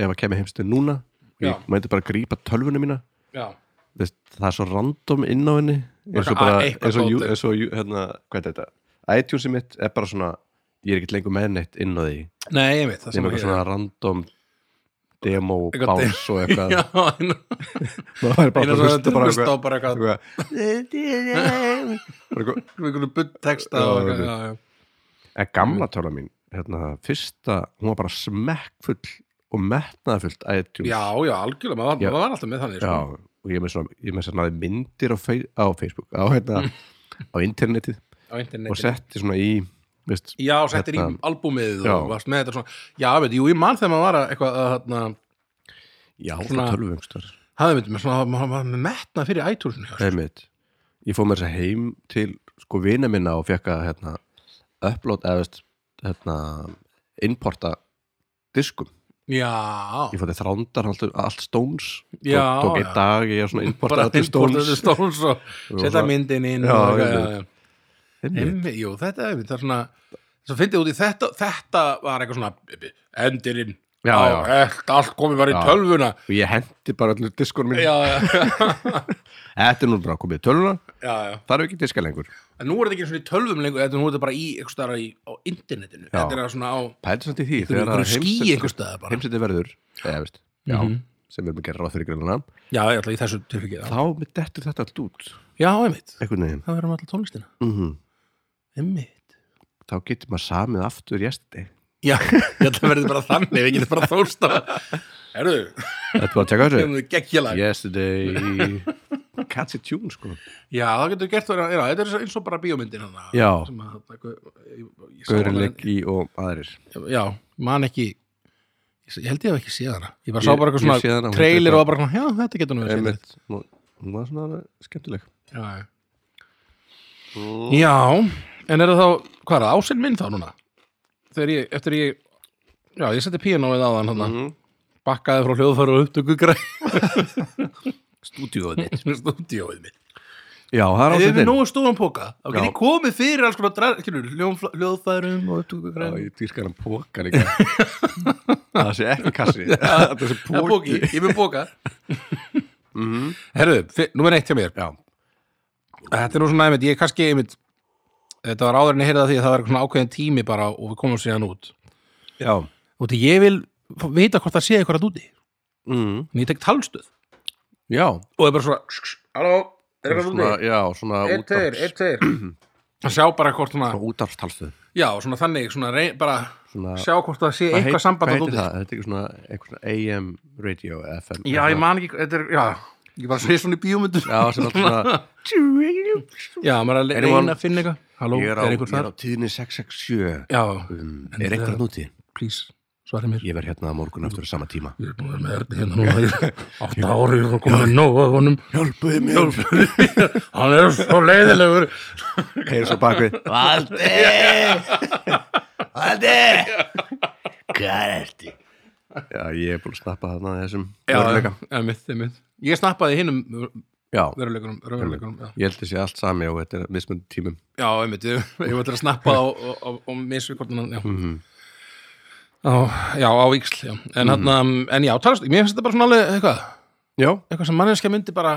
Speaker 1: ef að kemur heimstu núna og
Speaker 2: Já.
Speaker 1: ég myndi bara grípa tölvunum mína
Speaker 2: já
Speaker 1: veist, það er svo random inn á henni eins og
Speaker 2: Bara
Speaker 1: bara
Speaker 2: að- eitthvað
Speaker 1: eins og, jú-
Speaker 2: dótið.
Speaker 1: eins og, jú- hérna, hvað er þetta? iTunes mitt er bara svona ég er ekkert lengur með neitt inn á því
Speaker 2: nei, einmitt,
Speaker 1: sem
Speaker 2: það sem
Speaker 1: eitthvað
Speaker 2: ég
Speaker 1: svona random demo,
Speaker 2: Eitthvað
Speaker 1: bás og eitthvað
Speaker 2: já, einu
Speaker 1: maður er bara
Speaker 2: einu
Speaker 1: að
Speaker 2: svona
Speaker 1: hlusta bara
Speaker 2: hlusta á
Speaker 1: eitthvað
Speaker 2: bara
Speaker 1: eitthvað-
Speaker 2: eitthvað
Speaker 1: bara eitthvað
Speaker 2: við einhvern budd texta
Speaker 1: Já,
Speaker 2: og eitthvað,
Speaker 1: einmitt.
Speaker 2: já, já.
Speaker 1: En gamla tölva mín, hérna, fyrsta, hún var bara smekkfull og metnaðfullt iTunes.
Speaker 2: já, já, algjörlega, maður,
Speaker 1: Já.
Speaker 2: maður var alltaf með þannig
Speaker 1: Já,
Speaker 2: sko.
Speaker 1: og ég er með svona, ég er með svona myndir á, fei, á Facebook, á, hérna,
Speaker 2: Mm.
Speaker 1: á internetið
Speaker 2: á internetinu
Speaker 1: og setti svona í, veist,
Speaker 2: já, og settir í
Speaker 1: Hérna.
Speaker 2: albúmið
Speaker 1: Já.
Speaker 2: og varst með þetta svona já, veit, jú, ég man þegar maður var að eitthvað að þarna
Speaker 1: já,
Speaker 2: Svona-
Speaker 1: það tölvungstar.
Speaker 2: hafði mynd með svona, maður var með metna fyrir iTunes já,
Speaker 1: Einmitt. Ég fór mér þess að heim til, sko, vina minna og fekk að, hérna, upload, eða, veist, hérna, importa diskum.
Speaker 2: já,
Speaker 1: Ég fór þetta þrándar alltaf, allt stóns.
Speaker 2: Já,
Speaker 1: Tók
Speaker 2: já.
Speaker 1: einn dag, ég er svona
Speaker 2: bara
Speaker 1: importa allir
Speaker 2: importaði
Speaker 1: stóns.
Speaker 2: stóns og
Speaker 1: Og
Speaker 2: setja
Speaker 1: svona-
Speaker 2: myndin inn
Speaker 1: Já,
Speaker 2: og eitthvað,
Speaker 1: einmitt.
Speaker 2: já, já.
Speaker 1: Einmitt.
Speaker 2: Einmitt, jú, þetta er einmitt, það er svona svo fyndið út í þetta, þetta var eitthvað svona endurinn
Speaker 1: Já,
Speaker 2: á, e-
Speaker 1: já.
Speaker 2: Allt, allt komið bara í
Speaker 1: Já.
Speaker 2: tölvuna
Speaker 1: og ég hendi bara allir diskur minn
Speaker 2: já, já,
Speaker 1: þetta er nú bara komið í tölvuna
Speaker 2: já, já
Speaker 1: það eru ekki diska lengur
Speaker 2: en nú er þetta ekki svona í tölvum lengur þetta er nú er þetta bara í, eitthvað staðar í, á internetinu
Speaker 1: Já.
Speaker 2: þetta er svona á
Speaker 1: pælið samt í því þegar
Speaker 2: einhverju
Speaker 1: að
Speaker 2: skí einhver staðar bara Mhm.
Speaker 1: heimseti verður eða, veist, já, sem við erum að gera ráð fyrir greinuna
Speaker 2: já, ég ætla í þessu tilfengið já,
Speaker 1: þá með dettur þetta allt út
Speaker 2: já, einmitt,
Speaker 1: einhvern veginn
Speaker 2: það verðum alltaf tónlistina
Speaker 1: mm
Speaker 2: einmitt
Speaker 1: þá getur maður samið aftur jæsti
Speaker 2: já, ég ætla að verði bara þannig við getum bara þólst á erðu,
Speaker 1: þetta var að tjekka
Speaker 2: við
Speaker 1: þessu
Speaker 2: erum geggjalag
Speaker 1: yesterday catchy tune sko
Speaker 2: já, það getur gert verið að- já, þetta er eins og bara bíómyndin hana,
Speaker 1: já,
Speaker 2: sem að það- ég- ég- ég sá hana en-
Speaker 1: Gaurinleik í og aðrir
Speaker 2: já, man ekki ég s- ég held ég hef ekki séð hana ég bara
Speaker 1: Ég-
Speaker 2: sá bara eitthvað
Speaker 1: ég séð hana,
Speaker 2: svona
Speaker 1: hún
Speaker 2: trailer
Speaker 1: heitir
Speaker 2: og var bara, svona, já, þetta getur nú verið skemmtilegt.
Speaker 1: Einmitt. Nú- hún var svona skemmtileg
Speaker 2: Já, já.
Speaker 1: Mm.
Speaker 2: Já, en er það þá, hvað er það, ásinn minn þá núna? Þegar ég, eftir ég, já, ég seti píanóið á þann hann,
Speaker 1: Mhm.
Speaker 2: bakkaði frá hljóðfæru og upptöku græn
Speaker 1: stúdíóðið mitt
Speaker 2: stúdíóið mitt.
Speaker 1: já, það er
Speaker 2: Ef við
Speaker 1: ásett
Speaker 2: erum nógu stóðan póka, þá
Speaker 1: Já.
Speaker 2: get ég komið fyrir alls konar dræð, skilur, hljón- hljóðfærum og upptöku
Speaker 1: Já,
Speaker 2: græn.
Speaker 1: ég dýrka hann póka líka Það sé ekki kassi Það sé
Speaker 2: Já, póki,
Speaker 1: póki
Speaker 2: ég mun póka. Mhm. Herðu, fyr- númer eitt hjá mér.
Speaker 1: Já,
Speaker 2: Þetta er nú svona, einmitt, ég kannski, einmitt, þetta var áður en ég heyrði það því að það var eitthvað svona ákveðin tími bara og við komum síðan út.
Speaker 1: já
Speaker 2: Og því ég vil f- vita hvort það sé eitthvað að úti.
Speaker 1: mm.
Speaker 2: en ég tek talstöð
Speaker 1: Já,
Speaker 2: og það er bara svona halló, er eitthvað
Speaker 1: svona,
Speaker 2: úti?
Speaker 1: já, svona
Speaker 2: Einn, tveir, einn, tveir að sjá bara hvort svona
Speaker 1: útarfstalstöð
Speaker 2: já, svona þannig, svona rey, bara
Speaker 1: Svona
Speaker 2: sjá hvort það sé
Speaker 1: Hvað
Speaker 2: eitthvað
Speaker 1: heit-
Speaker 2: samband
Speaker 1: Hvað
Speaker 2: að
Speaker 1: heitir
Speaker 2: úti
Speaker 1: það? Þetta er ekki svona, eitthvað svona AM radio eða FM
Speaker 2: já, ég man ekki, þetta er, já ég bara sé svona í bíómyndum
Speaker 1: Já, sem alltaf svona
Speaker 2: já, maður er að le-
Speaker 1: Anyone?
Speaker 2: reyna að finna eitthvað halló,
Speaker 1: Ég
Speaker 2: er
Speaker 1: er á,
Speaker 2: einhver
Speaker 1: ég er
Speaker 2: þar?
Speaker 1: á tíðinni 667
Speaker 2: já,
Speaker 1: um, Er eitthvað núti?
Speaker 2: please, svarið mér
Speaker 1: Ég verð hérna á morgun aftur á sama tíma
Speaker 2: ég er búin að vera með erni hérna núna í átta ári og komið nóg að honum
Speaker 1: Hjálpuði mér
Speaker 2: hann er svo leiðilegur
Speaker 1: Heyrðu svo bakvið Valdi Valdi Hvað ertu? Já, ég er búin að snappa þarna af þessum
Speaker 2: já,
Speaker 1: veruleika.
Speaker 2: emitt, emitt ég snappaði hinnum
Speaker 1: já
Speaker 2: veruleikunum, veruleikunum já.
Speaker 1: Ég held þessi allt sami og þetta er mismunum tímum
Speaker 2: Já, einmitt, ég, ég var til að snappa á, á, á, á misvikornan já.
Speaker 1: Mhm.
Speaker 2: Á, já, á yksl já. En, mm en já, talast, mér finnst þetta bara svona alveg eitthvað,
Speaker 1: Já,
Speaker 2: eitthvað sem manneskja myndi bara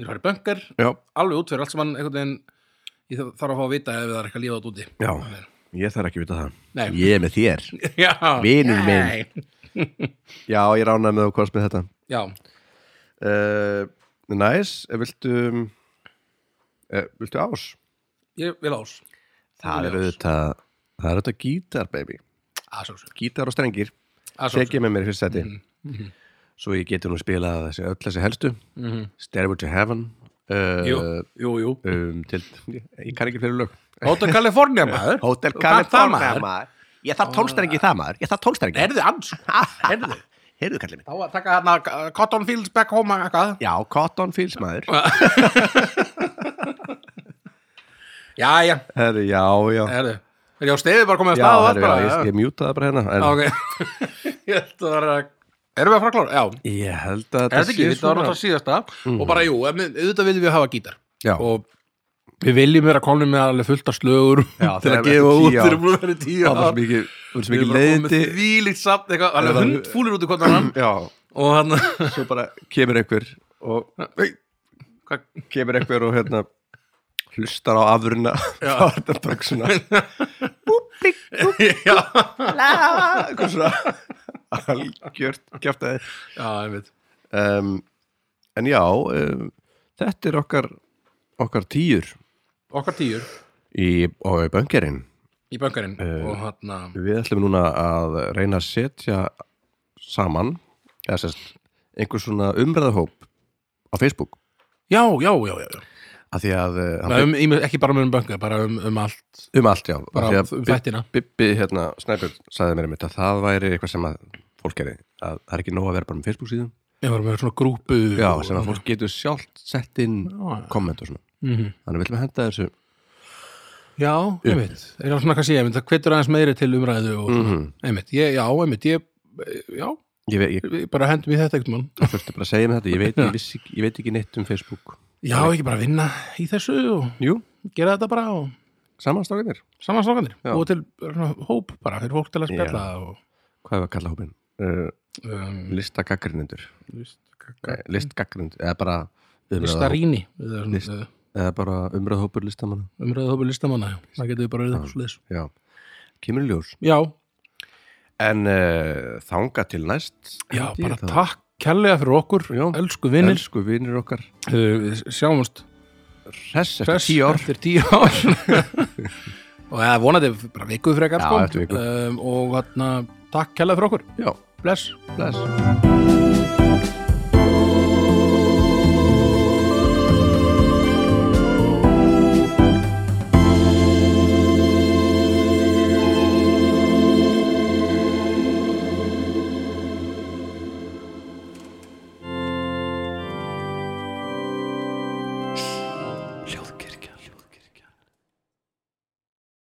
Speaker 2: við farið böngar,
Speaker 1: já,
Speaker 2: alveg út fyrir allt sem hann einhvern veginn, ég þarf þarf að fá að vita ef það er eitthvað lífað út úti
Speaker 1: já Ég þarf ekki að vita það
Speaker 2: Nei.
Speaker 1: Ég er með þér
Speaker 2: Já,
Speaker 1: Vinur minn.
Speaker 2: nei.
Speaker 1: Já, ég ránaði með og hvort með þetta Eh,
Speaker 2: Já,
Speaker 1: uh, Næs, nice. viltu um, uh, Viltu ás?
Speaker 2: ég vil ás
Speaker 1: Það er
Speaker 2: Ég vil ás.
Speaker 1: auðvitað Það er auðvitað gítar, baby
Speaker 2: Að sjálfsögðu.
Speaker 1: Gítar og strengir,
Speaker 2: Að sjálfsögðu. Mhm.
Speaker 1: tekið með mér í fyrst seti Svo ég geti nú spilað þessi, öll þessi helstu Stairway to Heaven
Speaker 2: Mhm. Jú,
Speaker 1: uh,
Speaker 2: jú, jú
Speaker 1: um, til, Ég kann ekki fyrir lög
Speaker 2: Hotel California maður
Speaker 1: Hotel
Speaker 2: Þú kannt það,
Speaker 1: California
Speaker 2: maður.
Speaker 1: maður Ég þarf tólstrengi í það maður Ég þarf tólstrengi
Speaker 2: Heyrðu, ans Heyrðu
Speaker 1: Heyrðu kallið minn
Speaker 2: Þá að taka hérna uh, Cotton Fields back home eitthvað
Speaker 1: Já, Cotton Fields maður
Speaker 2: Já, já,
Speaker 1: Herri, já, já
Speaker 2: heyrðu Er ég á stefið Eh, bara komið að
Speaker 1: Já,
Speaker 2: staða
Speaker 1: herri, já, ég, ég mjútaði bara hérna en,
Speaker 2: Ok Ég held að vera Erum við að fara að klára? Já
Speaker 1: Ég held að
Speaker 2: Er þetta ekki, þetta var náttúrulega síðasta og bara jú, em- auðvitað viljum við hafa gítar
Speaker 1: Já.
Speaker 2: og við viljum vera konum með alveg fullt af slögur
Speaker 1: Já,
Speaker 2: til
Speaker 1: þegar
Speaker 2: að
Speaker 1: við
Speaker 2: gefa
Speaker 1: erum
Speaker 2: út
Speaker 1: tíu ár.
Speaker 2: þegar við erum tíu
Speaker 1: Það var
Speaker 2: ár
Speaker 1: svo mikið, það var svo
Speaker 2: Við erum
Speaker 1: mikið
Speaker 2: bara komið
Speaker 1: leiðindi
Speaker 2: með þvílíkt samt eitthvað, alveg
Speaker 1: Eða-
Speaker 2: hundfúlir út í kontan hann
Speaker 1: Já,
Speaker 2: og hann
Speaker 1: svo bara kemur einhver og Nei,
Speaker 2: hvað-
Speaker 1: kemur einhver og hérna hlustar á afurina
Speaker 2: Já.
Speaker 1: frá þetta bröksuna
Speaker 2: Já,
Speaker 1: eitthvað svona algjört kjátt að
Speaker 2: já, ég veit
Speaker 1: um, en já um, þetta er okkar okkar tíur
Speaker 2: Okkar tíur
Speaker 1: í, og í böngerinn
Speaker 2: í bankarinn og hann
Speaker 1: við ætlum núna að reyna að setja saman eða sérst einhver svona umræðahóp á Facebook
Speaker 2: Já, já, já, já, já.
Speaker 1: af því að eh, hann
Speaker 2: Nei, um, í- ekki bara um banka, bara um, um allt
Speaker 1: Um allt, já.
Speaker 2: Bara
Speaker 1: Af því að
Speaker 2: um
Speaker 1: Bi-
Speaker 2: þættina.
Speaker 1: Bibbi, hérna, Snæbjörn, sagði mér einmitt að það væri eitthvað sem að fólk gerir. Að það er ekki nóg að vera bara með Facebook síðan.
Speaker 2: Ég var með svona grúpu
Speaker 1: Já,
Speaker 2: og-
Speaker 1: sem að fólk getur sjálft sett inn
Speaker 2: Já.
Speaker 1: komment og svona.
Speaker 2: Mhm.
Speaker 1: Þannig við viljum að henda þessu.
Speaker 2: Já, einmitt, er það svona kannski, einmitt, það hvetur aðeins meiri til umræðu og mm
Speaker 1: Mhm.
Speaker 2: einmitt, ég, já, einmitt, ég, já,
Speaker 1: Ég, ve- ég
Speaker 2: við bara hendum í þetta ekkert mann.
Speaker 1: þurfti bara að segja mér þetta. Ég veit, ég, vissi, ekki- ég veit ekki neitt um Facebook.
Speaker 2: Já, ekki bara vinna í þessu og
Speaker 1: Jú,
Speaker 2: gera þetta bara og
Speaker 1: samanstrákanir.
Speaker 2: samanstrákandir
Speaker 1: Já.
Speaker 2: og til svona, hóp bara fyrir fólk til að spjalla og
Speaker 1: Hvað er að kalla hópin? Uh,
Speaker 2: um,
Speaker 1: Listagaggrinendur. Listagaggrinendur. Eða bara umræðahóp-
Speaker 2: listaríni eða svona,
Speaker 1: List- eða bara umræðahópur listamanna.
Speaker 2: umræðu hópur listamanna, já. það getur við bara verið eitthvað sliðis.
Speaker 1: Já. Kemur í ljós.
Speaker 2: Já,
Speaker 1: En uh, þanga til næst.
Speaker 2: já,
Speaker 1: held ég,
Speaker 2: bara
Speaker 1: þá-
Speaker 2: takk kærlega fyrir okkur,
Speaker 1: Já.
Speaker 2: elsku vinnir,
Speaker 1: Elsku vinnir okkar
Speaker 2: uh, við sjáumst
Speaker 1: Hress eftir
Speaker 2: hress
Speaker 1: tíu ár
Speaker 2: eftir tíu ár. og eða vonandi bara vikuð frekar
Speaker 1: Já,
Speaker 2: sko. hérna,
Speaker 1: eftir viku.
Speaker 2: um, og þarna, takk kærlega fyrir okkur,
Speaker 1: Já,
Speaker 2: bless.
Speaker 1: bless